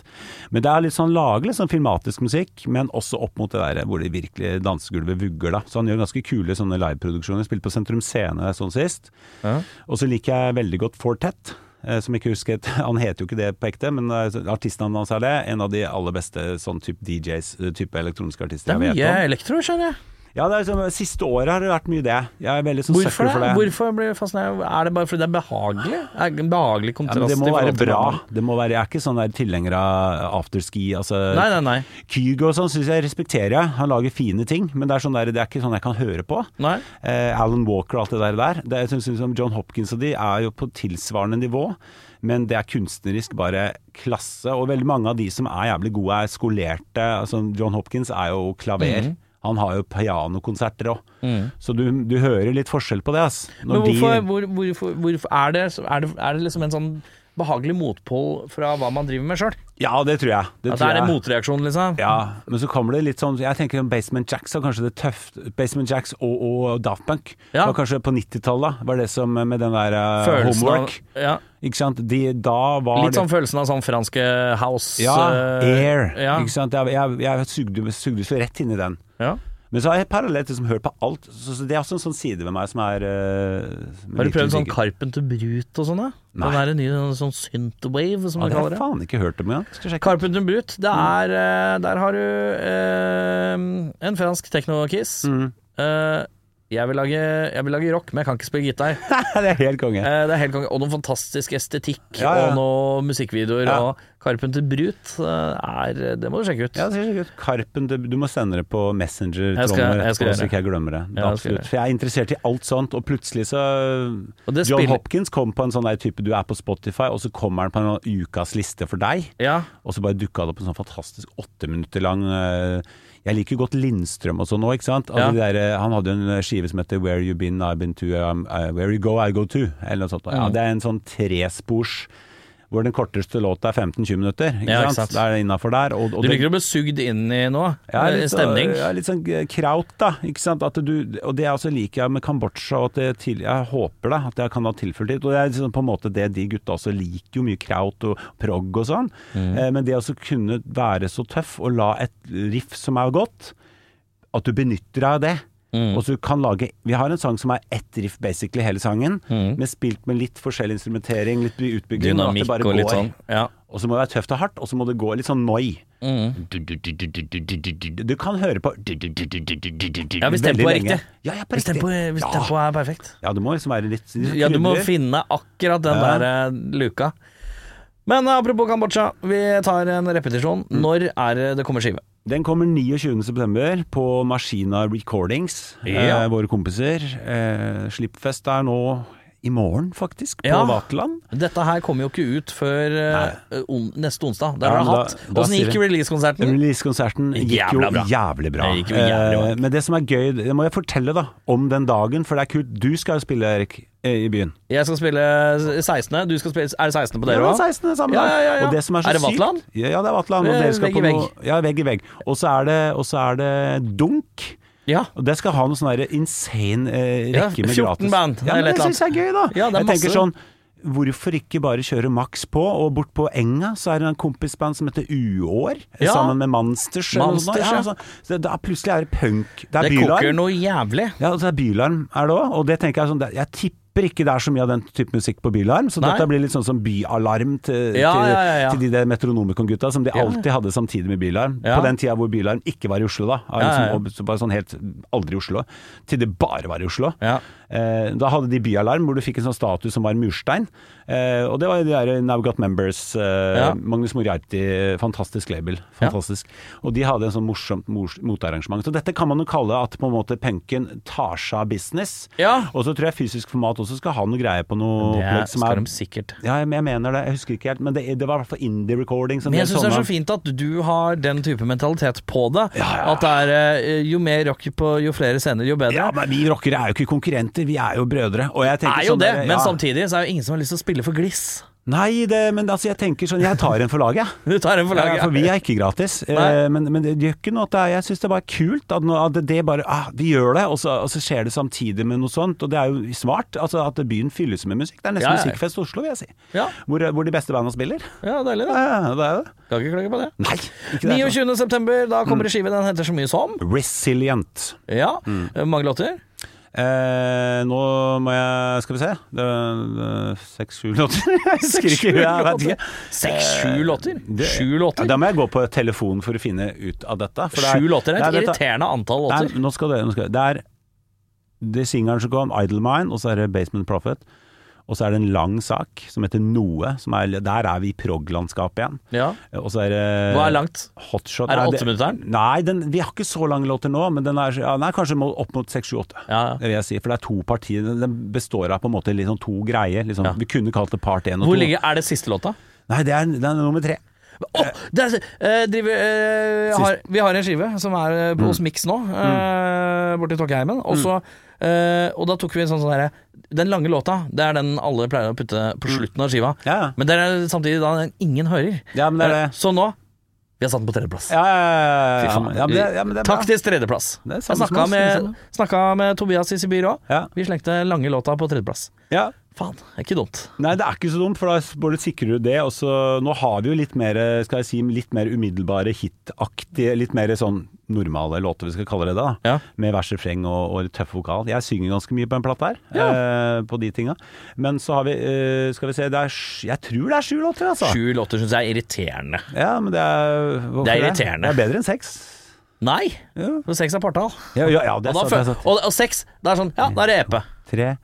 D: Men det er litt sånn lager litt sånn filmatisk musikk, men også opp mot det der eh, hvor det virkelig dansegulvet vugger, da. Så han gjør ganske kule sånne liveproduksjoner. Spilte på Sentrum Scene sånn sist. Og så liker jeg veldig godt Fortet. eh, Som ikke husker, et- [LAUGHS] Han heter jo ikke det på ekte, men eh, artistnavnet hans er det. En av de aller beste sånn type DJs, eh, type elektroniske
C: Det
D: artister
C: er
D: jeg vet
C: mye
D: om.
C: elektro, skjønner jeg.
D: Ja, det er sånn, Siste året har det vært mye det. Jeg er veldig sånn
C: Hvorfor,
D: søkkel for det.
C: Hvorfor blir jeg fascinert? Er det bare fordi det er behagelig? Er det en behagelig
D: Ja,
C: kontrast?
D: men det må
C: i forhold
D: være
C: til
D: bra.
C: hverandre?
D: Det må være, jeg er ikke sånn der tilhenger av afterski. Altså,
C: Nei, nei, nei.
D: Kygo og sånn syns jeg respekterer jeg. Han lager fine ting, men det er, sånn der, det er ikke sånn jeg kan høre på.
C: Nei.
D: Eh, Alan Walker og alt det der. der. Det, jeg synes, som John Hopkins og de er jo på tilsvarende nivå, men det er kunstnerisk bare klasse. Og veldig mange av de som er jævlig gode, er skolerte. Altså, John Hopkins er jo klaver.
C: Mhm.
D: Han har jo pianokonserter òg, så du, du hører litt forskjell på det. Ass. Når
C: Men hvorfor,
D: de,
C: hvor, hvorfor, hvorfor er, det, er, det, er det liksom en sånn behagelig motpol fra hva man driver med sjøl?
D: ja, det tror jeg. Det
C: At det
D: tror
C: Altså, er en
D: jeg.
C: motreaksjon, liksom?
D: Ja, men så kommer det litt sånn Jeg tenker om Basement Jacks var kanskje det tøft Basement Jacks og, og Daft Punk
C: Ja.
D: var kanskje på 90-tallet, var det som med den der eh,
C: Følelsen av-
D: homework.
C: ja.
D: Ikke sant? De, da var
C: Litt
D: det-
C: sånn følelsen av sånn franske house
D: Ja,
C: eh,
D: air.
C: Ja.
D: Ikke sant? Jeg, jeg, jeg sugde, sugde så rett inn i den.
C: Ja.
D: Men så har jeg parallelt liksom hørt på alt, så, så det er også en sånn side ved meg som er eh, som
C: Har du
D: virkelig
C: prøvd sånn
D: digger.
C: Carpenter Brut og sånn, da?
D: Nei.
C: Den der nye sånn synthwave, som
D: Ja,
C: man
D: det har
C: kaller
D: jeg
C: det.
D: faen ikke Mm. hørt om engang. Skal sjekke.
C: Carpenter Brut, det er eh, Der har du eh, en fransk techno-kiss.
D: Mm.
C: Eh, jeg, vil lage, jeg vil lage rock, men jeg kan ikke spille gitar.
D: [LAUGHS] [LAUGHS] det er helt konge.
C: Eh, det er helt konge. Og noen fantastisk estetikk,
D: Ja, ja.
C: og noen musikkvideoer.
D: Ja.
C: Og Carpenter Brut eh, er Det må du sjekke ut.
D: Ja, det ser slik ut. Karpen, det- du må sende det på Messenger,
C: Jeg skal-
D: Trommer,
C: jeg skal gjøre
D: så
C: det.
D: ikke jeg glemmer det. Det
C: Ja, jeg
D: er
C: skal gjøre
D: absolutt.
C: det.
D: For jeg er interessert i alt sånt, og plutselig så
C: Og det
D: John
C: spiller-
D: Hopkins kom på en sånn der type du er på Spotify, og så kommer han på en sånn ukas liste for deg,
C: Ja.
D: og så bare dukka det opp en sånn fantastisk åtte minutter lang eh, Jeg liker jo godt Lindstrøm og sånn nå, ikke sant?
C: Ja.
D: Altså, de der, eh, han hadde jo en skive som heter Where You Been, I've Been To, um, uh, Where You Go, I Go To, eller noe sånt. Ja,
C: Mm.
D: det er en sånn trespors hvor den korteste låta er 15-20 minutter. Ikke,
C: Ja, ikke
D: sant?
C: sant.
D: Det er innafor der. Og,
C: Du
D: og den-
C: liker å bli sugd inn i noe?
D: ja,
C: eh,
D: litt, så-
C: stemning?
D: Ja, litt sånn eh, kraut, da. Ikke sant? At du, og det er også liker jeg med Kambodsja, og at det til, jeg håper da, at jeg kan ha tilført litt. Og det er liksom på en måte det de gutta også liker, jo mye kraut og prog og sånn.
C: Mm.
D: Eh, men det å så kunne være så tøff og la et riff som er godt, at du benytter deg av det.
C: Mm.
D: Og så kan lage Vi har en sang som er ett riff basically hele sangen, men spilt med litt forskjellig instrumentering, litt utbygging. og at
C: Mm.
D: det
C: Dynamikk
D: bare
C: og litt
D: går.
C: sånn. Ja.
D: Og så må det være tøft og hardt, og så må det gå litt sånn noi.
C: Mm.
D: Du kan høre på Ja,
C: Ja, hvis tempoet er riktig.
D: Ja, ja, på
C: Hvis
D: riktig.
C: tempoet hvis
D: Ja.
C: tempoet er perfekt.
D: Ja, det må liksom være litt
C: Ja, du må
D: krydder.
C: finne akkurat den
D: Ja.
C: der eh, luka. Men apropos Kambodsja, vi tar en repetisjon.
D: Mm.
C: Når er det det kommer skive?
D: Den kommer 29.9. på Maskina Recordings,
C: Ja.
D: eh, våre kompiser. Eh, slippfest er nå i morgen, faktisk, på
C: Ja.
D: Vaterland.
C: Dette her kommer jo ikke ut før eh, on neste onsdag. Der
D: Ja,
C: har du
D: men
C: hatt.
D: da- da
C: Åssen
D: sier
C: gikk
D: vi-
C: releasekonserten?
D: Releasekonserten gikk jo
C: Jævla bra.
D: jævlig bra.
C: Det gikk jo jævlig bra.
D: Eh, men det som er gøy, det må jeg fortelle da om den dagen, for det er kult. Du skal jo spille, Erik, eh, i byen.
C: Jeg skal spille 16. Du skal spille, er det 16. på dere
D: Ja, men
C: òg?
D: 16. samme
C: Ja,
D: dag.
C: ja, ja, ja.
D: Og det som er så
C: Er det
D: sykt-
C: Vaterland?
D: Ja, ja, det er Vaterland. Og
C: Eh,
D: dere skal
C: vegg
D: på
C: i vegg.
D: noe Ja, vegg i vegg. Og så er det, og så er det Dunk.
C: Ja.
D: Og det skal ha noen sånne der insane eh,
C: Ja,
D: rekke med
C: 14
D: gratis.
C: band,
D: Ja,
C: eller
D: men
C: et
D: det
C: eller
D: syns jeg er gøy, da.
C: Ja, det er
D: jeg tenker
C: masse.
D: sånn Hvorfor ikke bare kjøre maks på? Og bort på enga så er det en kompisband som heter Uår,
C: Ja.
D: sammen med Monsters. eller noe sånt.
C: Monsters, ja.
D: sånn. så det, da plutselig er det punk. Det er
C: Det koker
D: bylarm.
C: noe jævlig.
D: Ja, og så er bylarm er det òg, og det tenker jeg sånn det- Jeg tipper ikke det er så mye av den type musikk på bylarm, så
C: Nei.
D: dette blir litt sånn som byalarm til,
C: Ja,
D: til,
C: ja, ja, ja.
D: til de der Metronomikon-gutta som de alltid hadde samtidig med bylarm.
C: Ja.
D: På den tida hvor bylarm ikke var i Oslo, da. Av
C: Ja,
D: liksom,
C: ja, ja.
D: og så Bare sånn helt aldri i Oslo. Til det bare var i Oslo.
C: Ja.
D: Eh, da hadde de byalarm hvor du fikk en sånn status som var murstein. Eh, og det var jo de der Now Got Members, eh,
C: Ja.
D: Magnus Moriarty, eh, fantastisk label. Fantastisk. Og de hadde en sånn morsomt mors- motarrangement. Så dette kan man jo kalle at på en måte punken tar seg av business.
C: Ja.
D: Og så tror jeg fysisk format også skal ha noe greie på noe
C: Det
D: opplegg som
C: skal
D: er
C: de sikkert.
D: ja, jeg jeg mener det, jeg husker ikke helt, men det, det var i hvert fall indie recording. som
C: Men jeg
D: det
C: syns det er
D: sånne-
C: så fint at du har den type mentalitet på det. At det er eh, jo mer rock på jo flere scener, jo bedre.
D: Ja, men vi rockere er jo ikke konkurrenter, vi er jo brødre. Og jeg tenker
C: er jo
D: sånn
C: det,
D: der,
C: men
D: ja.
C: samtidig så er jo ingen som har lyst til å spille for gliss. [LAUGHS]
D: Nei, det, men altså, jeg tenker sånn, jeg tar en for laget, jeg.
C: Du tar en for laget.
D: Ja, for vi er ikke gratis.
C: Nei.
D: Eh, Men, men det gjør ikke noe at det er Jeg syns det er bare kult at, nå- at det bare ah, Vi gjør det, og så, og så skjer det samtidig med noe sånt. Og det er jo smart. Altså At byen fylles med musikk. Det er nesten
C: Ja, ja.
D: Musikkfest Oslo, vil jeg si.
C: Ja.
D: Hvor, hvor de beste bandene spiller.
C: Ja, deilig det.
D: Ja, det er jo det.
C: Kan ikke klage på det.
D: Nei, ikke det. altså. Mm.
C: 29. september, da kommer det skive. Den heter så mye som.
D: Resilient.
C: Ja.
D: Mm.
C: Mange låter.
D: Eh, nå må jeg Skal vi se. Det er Seks-sju låter. [LAUGHS] Jeg husker ikke. Jeg vet ikke. Eh,
C: Seks-sju låter.
D: Det-
C: Sju låter.
D: Ja, da må jeg gå på telefonen for å finne ut av dette. For det er-
C: Sju låter er et
D: det dette-
C: irriterende antall låter.
D: Nei, nå skal det, nå skal det. det er det singelen som kom, Idle Mind, og så er det Basement Prophet. Og så er det en lang sak som heter Noe. Som er, der er vi i prog-landskapet igjen.
C: Ja.
D: Og så er det
C: Hva er langt?
D: Hotshot.
C: Er det
D: Nei,
C: åtteminutteren?
D: Nei, den, vi har ikke så lange låter nå, men den er, ja, den er kanskje må- opp mot 6-7-8.
C: Ja, ja.
D: Det vil jeg si, for det er to partier. Den- Den består av på en måte litt sånn to greier. Litt sånn,
C: Ja.
D: Vi kunne kalt det part 1 og
C: Hvor
D: 2.
C: ligger, er det siste låta?
D: Nei, det er, det er nummer tre.
C: Åh, det er, eh, driver, eh, har, vi har en skive som er eh,
D: Mm.
C: på hos Mix nå, eh, borti Tåkeheimen. Og, så,
D: Mm.
C: eh, og da tok vi en sånn sånn derre Den lange låta, det er den alle pleier å putte på slutten av skiva.
D: Ja, Mm. ja.
C: Men det er samtidig da den ingen hører.
D: Ja, men det er
C: Eh,
D: det.
C: Så nå Vi har satt den på tredjeplass.
D: Ja, ja, ja, ja,
C: Fy
D: ja.
C: faen.
D: ja, men det- ja, men det er bra.
C: Taktisk tredjeplass.
D: Det er
C: Jeg
D: samme som
C: snakka
D: oss, det
C: med,
D: er samme.
C: snakka med Tobias i Sibir òg.
D: Ja.
C: Vi slengte lange låta på tredjeplass.
D: Ja.
C: Faen, det er ikke dumt.
D: Nei, det er ikke så dumt, for da både sikrer du det, og så nå har vi jo litt mer, skal jeg si, litt mer umiddelbare hitaktige, litt mer sånn normale låter, vi skal kalle det det, da.
C: Ja.
D: Med vers, refreng og, og tøff vokal. Jeg synger ganske mye på en platte her, eh, på de tinga. Men så har vi, eh, skal vi se, det er, sj- jeg tror det er sju låter, altså.
C: Sju låter syns jeg er irriterende.
D: Ja, men det er hvorfor
C: Det er irriterende.
D: Det er bedre enn seks.
C: Nei!
D: Ja.
C: For seks er partall.
D: Ja, ja, ja, det
C: Og, da,
D: er sant. Det
C: føl-
D: er sant.
C: og, og seks, da er sånn Ja, da er det EP.
D: Tre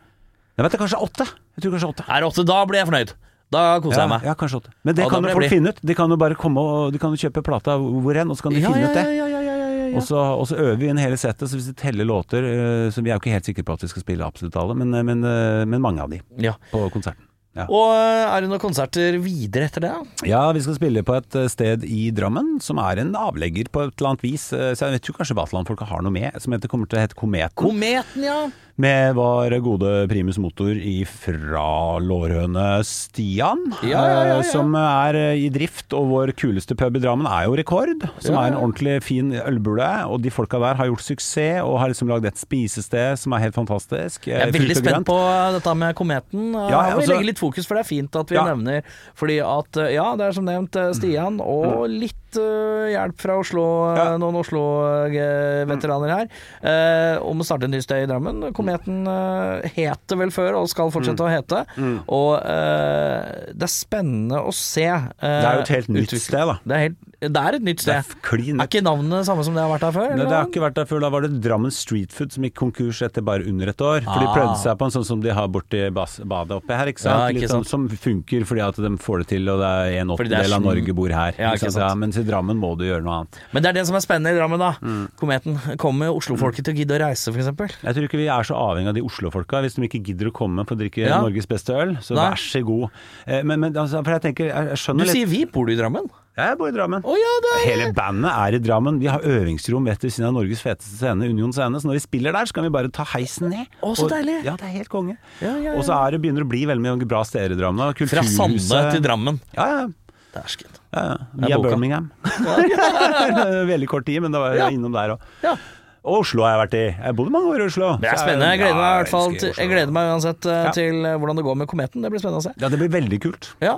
D: Nei, vet du, kanskje åtte. Jeg tror kanskje åtte.
C: Er det åtte, da blir jeg fornøyd. Da koser jeg
D: Ja,
C: meg.
D: ja, kanskje åtte. Men det
C: Ja, da blir
D: kan jo
C: jeg
D: folk
C: blid.
D: finne ut. De kan jo bare komme og de kan jo kjøpe plata hvor enn, og så kan de finne ut det. Og, så, og så øver vi inn hele settet, så hvis de teller låter eh, Så vi er jo ikke helt sikre på at vi skal spille absolutt alle, men, eh, men, eh, men mange av de
C: Ja.
D: på konserten. Ja.
C: Og eh, er det noen konserter videre etter det? da?
D: ja, vi skal spille på et eh, sted i Drammen som er en avlegger på et eller annet vis. eh, Så jeg tror kanskje Vaterland-folka har noe med, som heter, kommer til å hete Kometen.
C: Kometen, ja.
D: Med vår gode primus motor fra lårhøne Stian,
C: Ja, ja, ja, ja.
D: eh, som er eh, i drift. Og vår kuleste pub i Drammen er jo Rekord, som
C: Ja, ja.
D: er en ordentlig fin ølbule. Og de folka der har gjort suksess, og har liksom lagd et spisested som er helt fantastisk.
C: Jeg
D: eh,
C: er veldig
D: frukt og
C: spent
D: grønt.
C: på eh, dette med kometen. Ja,
D: Ja, ja,
C: Vi
D: altså-
C: legger litt fokus, for det er fint at vi
D: Ja.
C: nevner Fordi at, eh, ja, det er som nevnt eh, Stian og litt øh, hjelp fra Oslo, øh,
D: Mm. Ja.
C: noen Oslo-veteraner her, øh, om å starte en ny sted i Drammen. Kometen øh, het det vel før, og skal
D: Mm.
C: fortsette å hete. Og øh, det er spennende å se. øh,
D: Det er jo et helt nytt
C: utvikling.
D: sted, da.
C: Det er, helt, det er et nytt
D: Det er
C: sted.
D: f- klin
C: Er
D: nytt.
C: ikke navnet samme som det har vært der før?
D: Nei,
C: eller?
D: det har ikke vært der før. Da var det Drammen Street Food som gikk konkurs etter bare under et år. For de
C: Ah.
D: prøvde seg på en sånn som de har borti bas- badet oppi her, ikke sant.
C: Ja, ikke
D: Litt sånn som funker fordi at de får det til, og det er en
C: Fordi det er
D: åttendel av
C: sånn-
D: Norge bor her.
C: Ja,
D: ikke
C: ikke
D: sant? Ja, mens i Drammen må du gjøre noe annet.
C: Men det er det som er spennende i Drammen, da.
D: Mm.
C: Kometen. Kommer Oslo-folket til å gidde å reise, f.eks.?
D: Jeg tror ikke vi er så avhengig av de Oslo-folka. Hvis de ikke gidder å komme for å drikke
C: Ja.
D: Norges beste øl, så
C: Nei.
D: vær så god. Eh, Men, men altså, for jeg tenker, jeg jeg
C: Du
D: skjønner litt
C: sier vi, bor du i Drammen?
D: Jeg bor i Drammen.
C: Å ja, det er
D: Hele bandet er i Drammen. Vi har øvingsrom rett ved siden av Norges feteste scene, Union Scene. Så når vi spiller der, så kan vi bare ta heisen ned.
C: Å, så
D: Og-
C: deilig.
D: Ja, det er helt konge.
C: Ja, ja, ja.
D: Og så er det, begynner det å bli veldig mange bra steder i Drammen. da.
C: Fra
D: Kulturhuset.
C: Sande til Drammen.
D: Ja, ja.
C: Dæsken.
D: ja, ja.
C: Det er
D: Via
C: boka. [LAUGHS]
D: Birmingham. veldig kort tid, men da var jeg
C: Ja.
D: innom der òg.
C: Ja.
D: Og Oslo har jeg vært i. Jeg bodde mange år i Oslo.
C: Det er
D: Så
C: spennende. Jeg gleder meg, i
D: Ja,
C: hvert fall,
D: elsker
C: til, jeg
D: Oslo.
C: gleder meg uansett eh,
D: Ja.
C: til eh, hvordan det går med kometen. Det blir spennende å se.
D: Ja, det blir veldig kult.
C: Ja,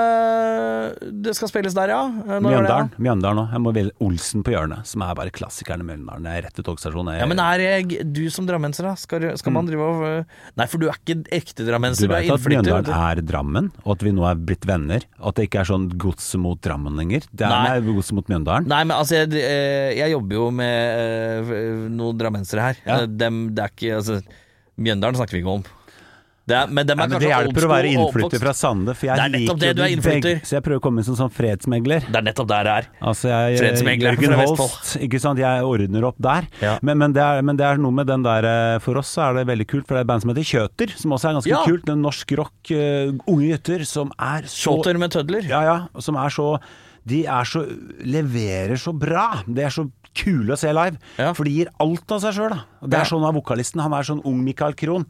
C: eh, det skal spilles der, ja. Eh, når er det,
D: Mjøndalen
C: da?
D: Mjøndalen òg. Jeg må velge Olsen på hjørnet, som er bare klassikeren i Mjøndalen. Jeg er rett ved togstasjonen. Jeg-
C: Ja, men er jeg, du som drammenser, da? Skal, du- skal man drive og eh, Nei, for du er ikke ekte
D: Mm. Du
C: drammenser, du, er
D: vet at
C: innflytter.
D: Mjøndalen er Drammen, og at vi nå er blitt venner. At det ikke er sånn godset mot Drammen lenger. Det er
C: Nei.
D: nei. godset mot Mjøndalen.
C: Nei, men altså, jeg, eh, jeg jobber jo med eh, noen drammensere her.
D: Ja.
C: Eh, Dem, det er ikke altså, Mjøndalen snakker vi ikke om. Det er, men, dem
D: Nei,
C: er
D: men
C: kanskje
D: det hjelper å
C: old
D: være
C: school og
D: innflytter
C: oppvokst.
D: fra Sande, for jeg
C: Det er nettopp
D: liker
C: det,
D: jo
C: du er
D: de
C: innflytter.
D: begge- Så jeg prøver å komme inn som sånn fredsmegler.
C: Det er nettopp der det er.
D: Altså jeg,
C: Fredsmegler
D: Jørgen
C: fra
D: Holst, ikke sant. Jeg ordner opp der.
C: Ja.
D: Men, men, det er, men det er noe med den der eh, For oss så er det veldig kult, for det er et band som heter Kjøter, som også er ganske
C: Ja.
D: kult. En norsk rock, eh, unge gutter som er så
C: Shorter med tødler.
D: Ja, ja, og som er så De er så leverer så bra. De er så kule å se live.
C: Ja.
D: For de gir alt av seg sjøl. Det
C: Ja.
D: er sånn av vokalisten. Han er sånn ung Michael Krohn.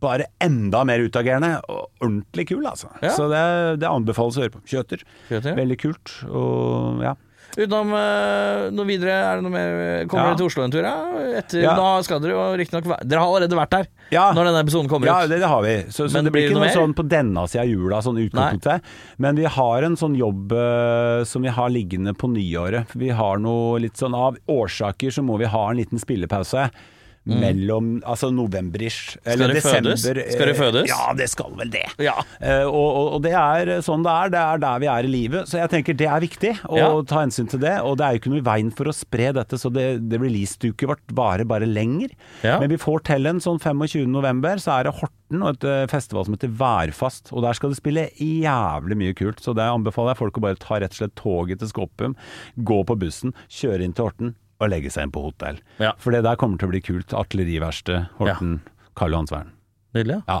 D: Bare enda mer utagerende og ordentlig kul, altså.
C: Ja.
D: Så det, det anbefales å høre på. Kjøter.
C: Kjøter, ja.
D: Veldig kult. Og ja.
C: Utenom eh, noe videre, er det noe mer Kommer
D: Ja.
C: dere til Oslo en tur, ja? Etter,
D: Ja.
C: Da skal dere jo riktignok væ- Dere har allerede vært der
D: Ja.
C: når denne episoden kommer
D: Ja,
C: ut.
D: det, det har vi. Så, så
C: Men
D: det
C: blir
D: blir
C: det
D: ikke
C: noe
D: noe
C: mer?
D: sånn på denne sida av jula, sånn i utgangspunktet. Men vi har en sånn jobb eh, som vi har liggende på nyåret. Vi har noe litt sånn av årsaker så må vi ha en liten spillepause. Mellom altså november-ish. Eller
C: Mm. det
D: desember.
C: fødes? Skal det
D: eh,
C: fødes?
D: Ja, det skal vel det.
C: Ja.
D: Eh, og, og, og det er sånn det er. Det er der vi er i livet. Så jeg tenker det er viktig å
C: Ja.
D: ta hensyn til det. Og det er jo ikke noe i veien for å spre dette, så det, det release-duket vårt varer bare lenger.
C: Ja.
D: Men vi får til en sånn 25. november, så er det Horten og et eh, festival som heter Værfast. Og der skal du spille jævlig mye kult. Så det anbefaler jeg folk å bare ta rett og slett toget til Skoppum, gå på bussen, kjøre inn til Horten og legge seg inn på hotell.
C: Ja.
D: For det der kommer til å bli kult. Artilleriverksted, Horten, Karl Johans vern.
C: Nydelig.
D: Ja.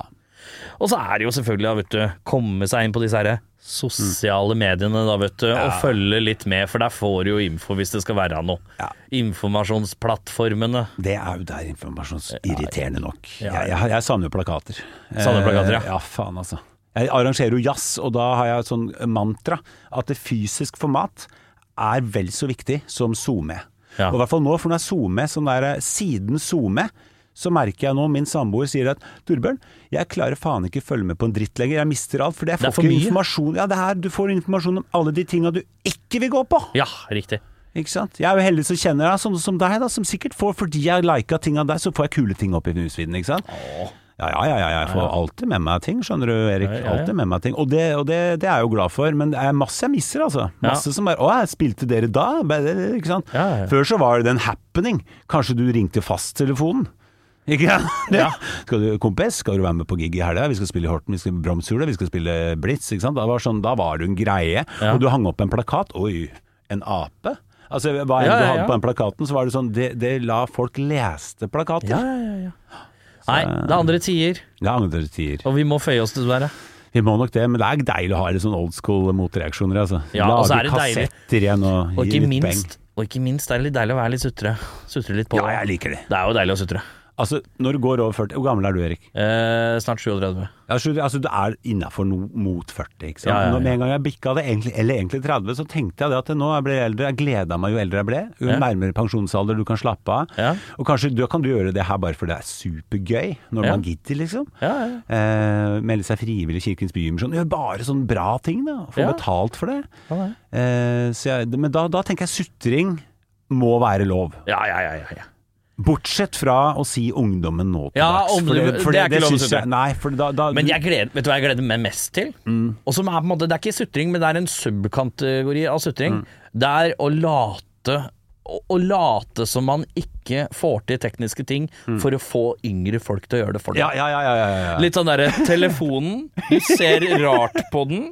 C: Og så er det jo selvfølgelig, da, vet du, komme seg inn på disse herre sosiale mediene, da, vet du, og følge litt med, for der får du jo info hvis det skal være noe.
D: Ja.
C: Informasjonsplattformene.
D: Det er jo der informasjonsirriterende nok.
C: Ja.
D: Jeg, jeg, jeg savner jo plakater.
C: Savner plakater, ja.
D: Eh, Ja, faen altså. Jeg arrangerer jo jazz, og da har jeg et sånn mantra at det fysisk format er vel så viktig som SoMe.
C: Ja.
D: Og i hvert fall nå, for når jeg SoMe, sånn der eh, siden SoMe, så merker jeg nå, min samboer sier at Torbjørn, jeg klarer faen ikke følge med på en dritt lenger, jeg mister alt, for det jeg
C: Det er
D: får
C: for
D: ikke
C: mye.
D: informasjon. Ja, det her, du får informasjon om alle de tinga du ikke vil gå på.
C: Ja, riktig.
D: Ikke sant? Jeg er jo heldig som kjenner deg, som, som deg, da, som sikkert får Fordi jeg lika ting av deg, så får jeg kule ting opp i newsfeeden, ikke sant? Ja, ja, ja, ja, jeg får alltid med meg ting, skjønner du,
C: Ja,
D: Erik.
C: ja, ja.
D: Alltid med meg ting. Og, det, og det, det er jeg jo glad for, men det er masse jeg misser, altså. Masse som bare Å, jeg spilte dere da? Bare, Ikke sant?
C: Ja, ja, ja.
D: Før så var det en happening. Kanskje du ringte fasttelefonen? Ikke sant? Skal du, kompis, skal du være med på gig i helga? Vi skal spille i Horten, vi skal spille Bromshule, vi skal spille Blitz. Ikke sant? Da var, sånn, da var du en greie,
C: Ja.
D: og du hang opp en plakat. Oi, en ape? Altså, hva enn
C: Ja,
D: du
C: ja,
D: hadde
C: ja.
D: på den plakaten, så var det sånn Det, det la folk leste plakater.
C: Ja, ja, ja. Nei, det er andre tider,
D: Det er andre tider.
C: og vi må føye oss, dessverre.
D: Vi må nok det, men det er deilig å ha litt sånn old school motreaksjoner, altså.
C: Ja, og så er det deilig.
D: kassetter igjen og,
C: Og
D: gi
C: ikke
D: litt
C: minst, og ikke minst er det litt deilig å være litt sutre. Sutre litt på.
D: beng. Ja, jeg liker det.
C: Det er jo deilig å sutre.
D: Altså, når du går over 40 Hvor gammel er du, Erik?
C: Eh, snart 37.
D: Altså, altså du er innafor no, mot 40, ikke sant.
C: Ja, ja, ja.
D: Når- Med en gang jeg bikka det, egentlig, eller egentlig 30, så tenkte jeg det at nå jeg ble eldre, jeg gleda meg jo eldre jeg ble. Jo
C: Ja.
D: nærmere pensjonsalder du kan slappe av.
C: Ja.
D: Og kanskje da kan du gjøre det her bare fordi det er supergøy, når
C: Ja.
D: man gidder, liksom.
C: Ja, ja.
D: Eh, melde seg frivillig i Kirkens Bymisjon. Gjør bare sånne bra ting, da. Få
C: Ja.
D: betalt for det.
C: Ja, det
D: Eh, så jeg, men da, da tenker jeg sutring må være lov.
C: Ja, ja, ja. ja, ja.
D: Bortsett fra å si ungdommen nå til
C: Ja,
D: dags.
C: om du- det er ikke lov å
D: syns
C: sutre.
D: jeg- Nei, for da, da
C: Men jeg gleder, vet du hva jeg gleder meg mest til? Og som er på en måte, Det er ikke sutring, men det er en subkategori av sutring. Det er å late å, å late som man ikke får til tekniske ting for å få yngre folk til å gjøre det for deg.
D: ja, ja, ja, ja, ja, ja.
C: Litt sånn derre telefonen, du ser rart på den.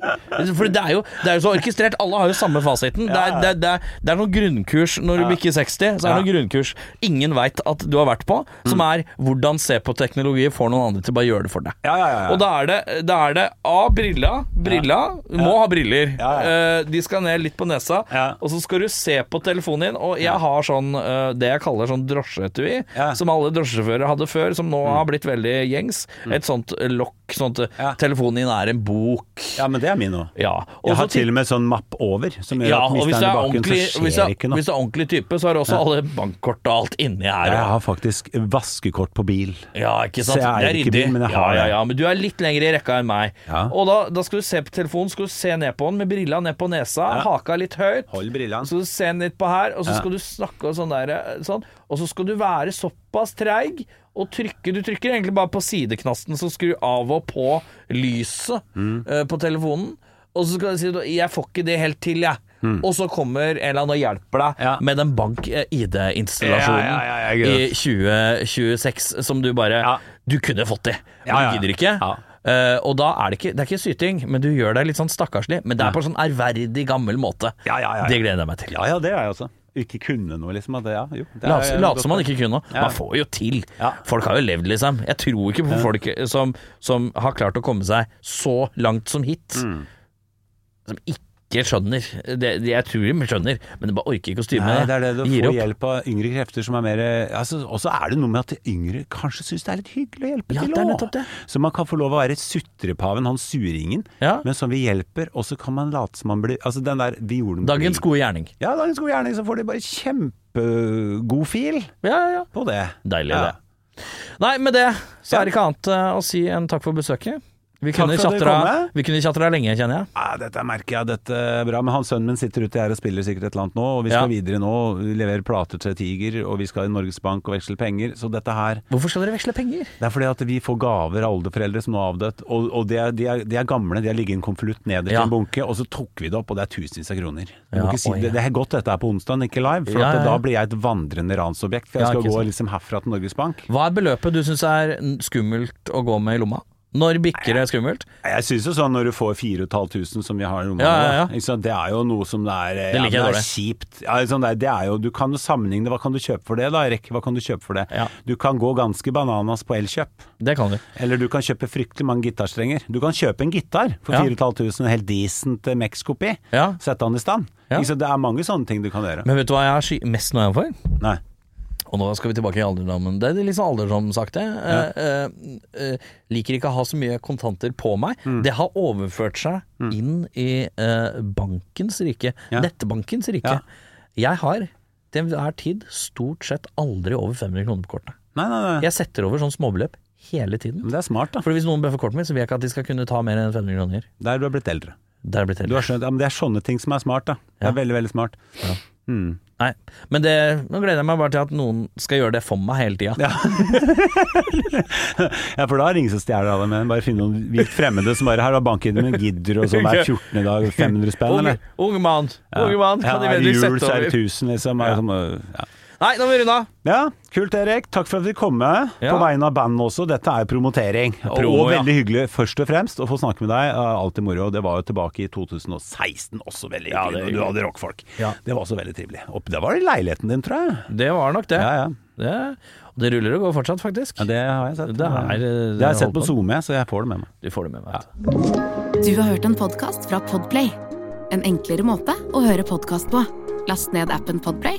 C: For det er jo, det er jo så orkestrert, alle har jo samme fasiten. Det er, det, er- det er, det er noen grunnkurs når du bikker 60, så er det noen grunnkurs ingen veit at du har vært på, som er hvordan se på teknologi får noen andre til å bare gjøre det for deg.
D: Ja, ja, ja, ja.
C: Og da er det, da er det A, brilla. Brilla. Du må ha briller.
D: Ja, ja.
C: Eh, de skal ned litt på nesa,
D: Ja.
C: og så skal du se på telefonen din. Og jeg har sånn eh, det jeg kaller sånn drosjeetui,
D: Ja.
C: som alle drosjesjåfører hadde før, som nå har blitt veldig gjengs. Et sånt lokk, sånn at
D: Ja.
C: telefonen din er en bok.
D: Ja, men det er min òg.
C: Ja.
D: Jeg
C: og så
D: har
C: til-
D: til og med sånn mapp over, som gjør
C: ja,
D: at
C: og
D: hvis
C: hvis
D: det
C: du er
D: er i bakken,
C: ordentlig,
D: så
C: hvis du
D: skjer
C: er,
D: det ikke noe.
C: hvis du er ordentlig type, så har også alle bankkort og alt inni her.
D: Jeg har faktisk vasket kort på bil.
C: Ja, ikke sant? det
D: Så jeg eier
C: er
D: ikke
C: ryddig.
D: bil, men jeg
C: ja,
D: har
C: ja,
D: det.
C: ja, men du er litt lenger i rekka enn meg.
D: Ja.
C: Og da, da skal du se på telefonen, skal du se ned på den med brilla ned på nesa, haka litt høyt.
D: Hold brillene.
C: Så skal du se den litt på her, og så skal du snakke og sånn der, sånn, og så skal du være såpass treig og trykke Du trykker egentlig bare på sideknasten som skrur av og på lyset
D: Mm.
C: eh, på telefonen, og så skal du si 'jeg får ikke det helt til, jeg'. Og så kommer en eller annen og hjelper deg
D: Mm. Ja.
C: med den bank-ID-installasjonen
D: Ja, ja, ja, ja, ikke
C: i 2026 som du bare
D: Ja.
C: Du kunne fått det, men
D: Ja, ja, ja.
C: du gidder ikke.
D: Ja.
C: Eh, og da er det ikke Det er ikke syting, men du gjør deg litt sånn stakkarslig. Men det er på en sånn ærverdig, gammel måte.
D: Mm. Ja, ja, ja, ja.
C: Det gleder jeg meg til.
D: Ja ja, det er jeg også. Ikke kunne noe, liksom. At det, ja, jo, det er-
C: Lat lat som man ikke kunne.
D: Ja.
C: Man får jo til.
D: Ja.
C: Folk har jo levd, liksom. Jeg tror ikke på folk som, som har klart å komme seg så langt som hit.
D: Mm.
C: Som ikke skjønner. Det, det, jeg tror de skjønner, men de bare orker ikke å styre
D: Nei,
C: med
D: det er det du
C: Gir
D: får
C: opp.
D: hjelp av yngre krefter som er mer altså, Og så er det noe med at de yngre kanskje syns det er litt hyggelig å hjelpe
C: Ja, det
D: til
C: er
D: også.
C: nettopp det.
D: Så man kan få lov å være sutrepaven, han suringen,
C: Ja.
D: men som vi hjelper, og så kan man late som man blir Altså den der vi gjorde den
C: Dagens
D: fordi-
C: gode gjerning.
D: Ja, dagens gode gjerning, så får de bare kjempegod fil
C: Ja, ja, ja.
D: på det.
C: Deilig,
D: Ja.
C: det. Nei, med det så er det ikke annet eh, å si enn takk for besøket. Vi
D: Takk
C: kunne
D: for at du
C: tjatra-
D: kom. eh.
C: vi kunne tjatra lenge, kjenner jeg.
D: Ja, dette merker jeg, dette er bra. Men han sønnen min sitter ute her og spiller sikkert et eller annet nå, og vi skal
C: Ja.
D: videre nå, levere plater til Tiger, og vi skal i Norges Bank og veksle penger. Så dette her
C: Hvorfor skal dere veksle penger?
D: Det er fordi at vi får gaver av oldeforeldre som nå er avdødt, og, og de, er, de, er, de er gamle, de har ligget i en konvolutt nederst i
C: Ja.
D: en bunke, og så tok vi det opp, og det er tusenvis av kroner. Du
C: Ja,
D: må ikke si,
C: oi, ja.
D: det, det er godt dette er på onsdag, ikke live, for
C: Ja, ja, ja.
D: at da blir jeg et vandrende ransobjekt, for jeg
C: Ja,
D: skal
C: ikke
D: gå
C: sant.
D: liksom herfra til Norges Bank.
C: Hva er beløpet du syns er n- skummelt å gå med i lomma? Når bikker det skummelt?
D: Jeg synes jo sånn når du får 4500 som vi har i lomma
C: Ja, ja, ja.
D: nå, ikke sant? det er jo noe som det er, eh,
C: Det liker jeg
D: ja, men det er
C: dårlig.
D: kjipt. Ja, sånn det, er- det er jo, du kan jo sammenligne, hva kan du kjøpe for det da, Erik? Hva kan du kjøpe for det?
C: Ja.
D: Du kan gå ganske bananas på elkjøp,
C: Det kan du.
D: eller du kan kjøpe fryktelig mange gitarstrenger. Du kan kjøpe en gitar for
C: Ja.
D: 4500, en helt decent eh, Mex-kopi,
C: Ja.
D: sette den i stand.
C: Ja.
D: Ikke sant? Det er mange sånne ting du kan gjøre.
C: Men vet du hva jeg er sky mest nøye for?
D: Nei.
C: Og nå skal vi tilbake i alderdommen. Det er litt sånn alderdomsaktig. Eh, eh, eh, liker ikke å ha så mye kontanter på meg. Det har overført seg inn i eh, bankens rike.
D: Ja.
C: Nettbankens rike.
D: Ja.
C: Jeg har til enhver tid stort sett aldri over 500 kroner på kortet.
D: Nei, nei, nei.
C: Jeg setter over sånn småbeløp hele tiden.
D: Men det er smart da,
C: For hvis noen bøffer kortet mitt, så vil jeg ikke at de skal kunne ta mer enn 500 kroner.
D: der du har blitt eldre.
C: Der er det blitt
D: Du
C: helt.
D: har skjønt, ja, men det er sånne ting som er smart da. Det
C: Ja.
D: er veldig, veldig smart.
C: Nei. Men det, nå gleder jeg meg bare til at noen skal gjøre det for meg hele tida.
D: Ja. ja, for da rings og stjeler alle med Bare finne noen vilt fremmede som bare her har banken min, gidder og sånn. Det er 14 i dag, 500 spenn,
C: Unge,
D: eller?
C: unge mann, unge mann, kan de
D: er det
C: vennligst
D: jul,
C: sette
D: så er det
C: over?
D: 1000, liksom. Er det sånn, øh, Ja.
C: Nei, nå må vi runde av.
D: ja, kult Erik. Takk for at du kom med. På
C: Ja.
D: vegne av bandet også. Dette er promotering. Og,
C: Promo,
D: og
C: ja.
D: veldig hyggelig, først og fremst, å få snakke med deg. Eh, Alltid moro. Det var jo tilbake i 2016 også, veldig hyggelig. når du hadde rockfolk. Det var også veldig trivelig. Og det var i leiligheten din, tror jeg.
C: Det var nok det.
D: Ja, ja.
C: Det, og det ruller og går fortsatt, faktisk.
D: Ja, det har jeg sett.
C: Det er-
D: det har jeg sett
C: holdt på.
D: på SoMe, så jeg får det med meg.
C: Du får det med meg. vet du.
A: Du har hørt en podkast fra Podplay. En enklere måte å høre podkast på. Last ned appen Podplay,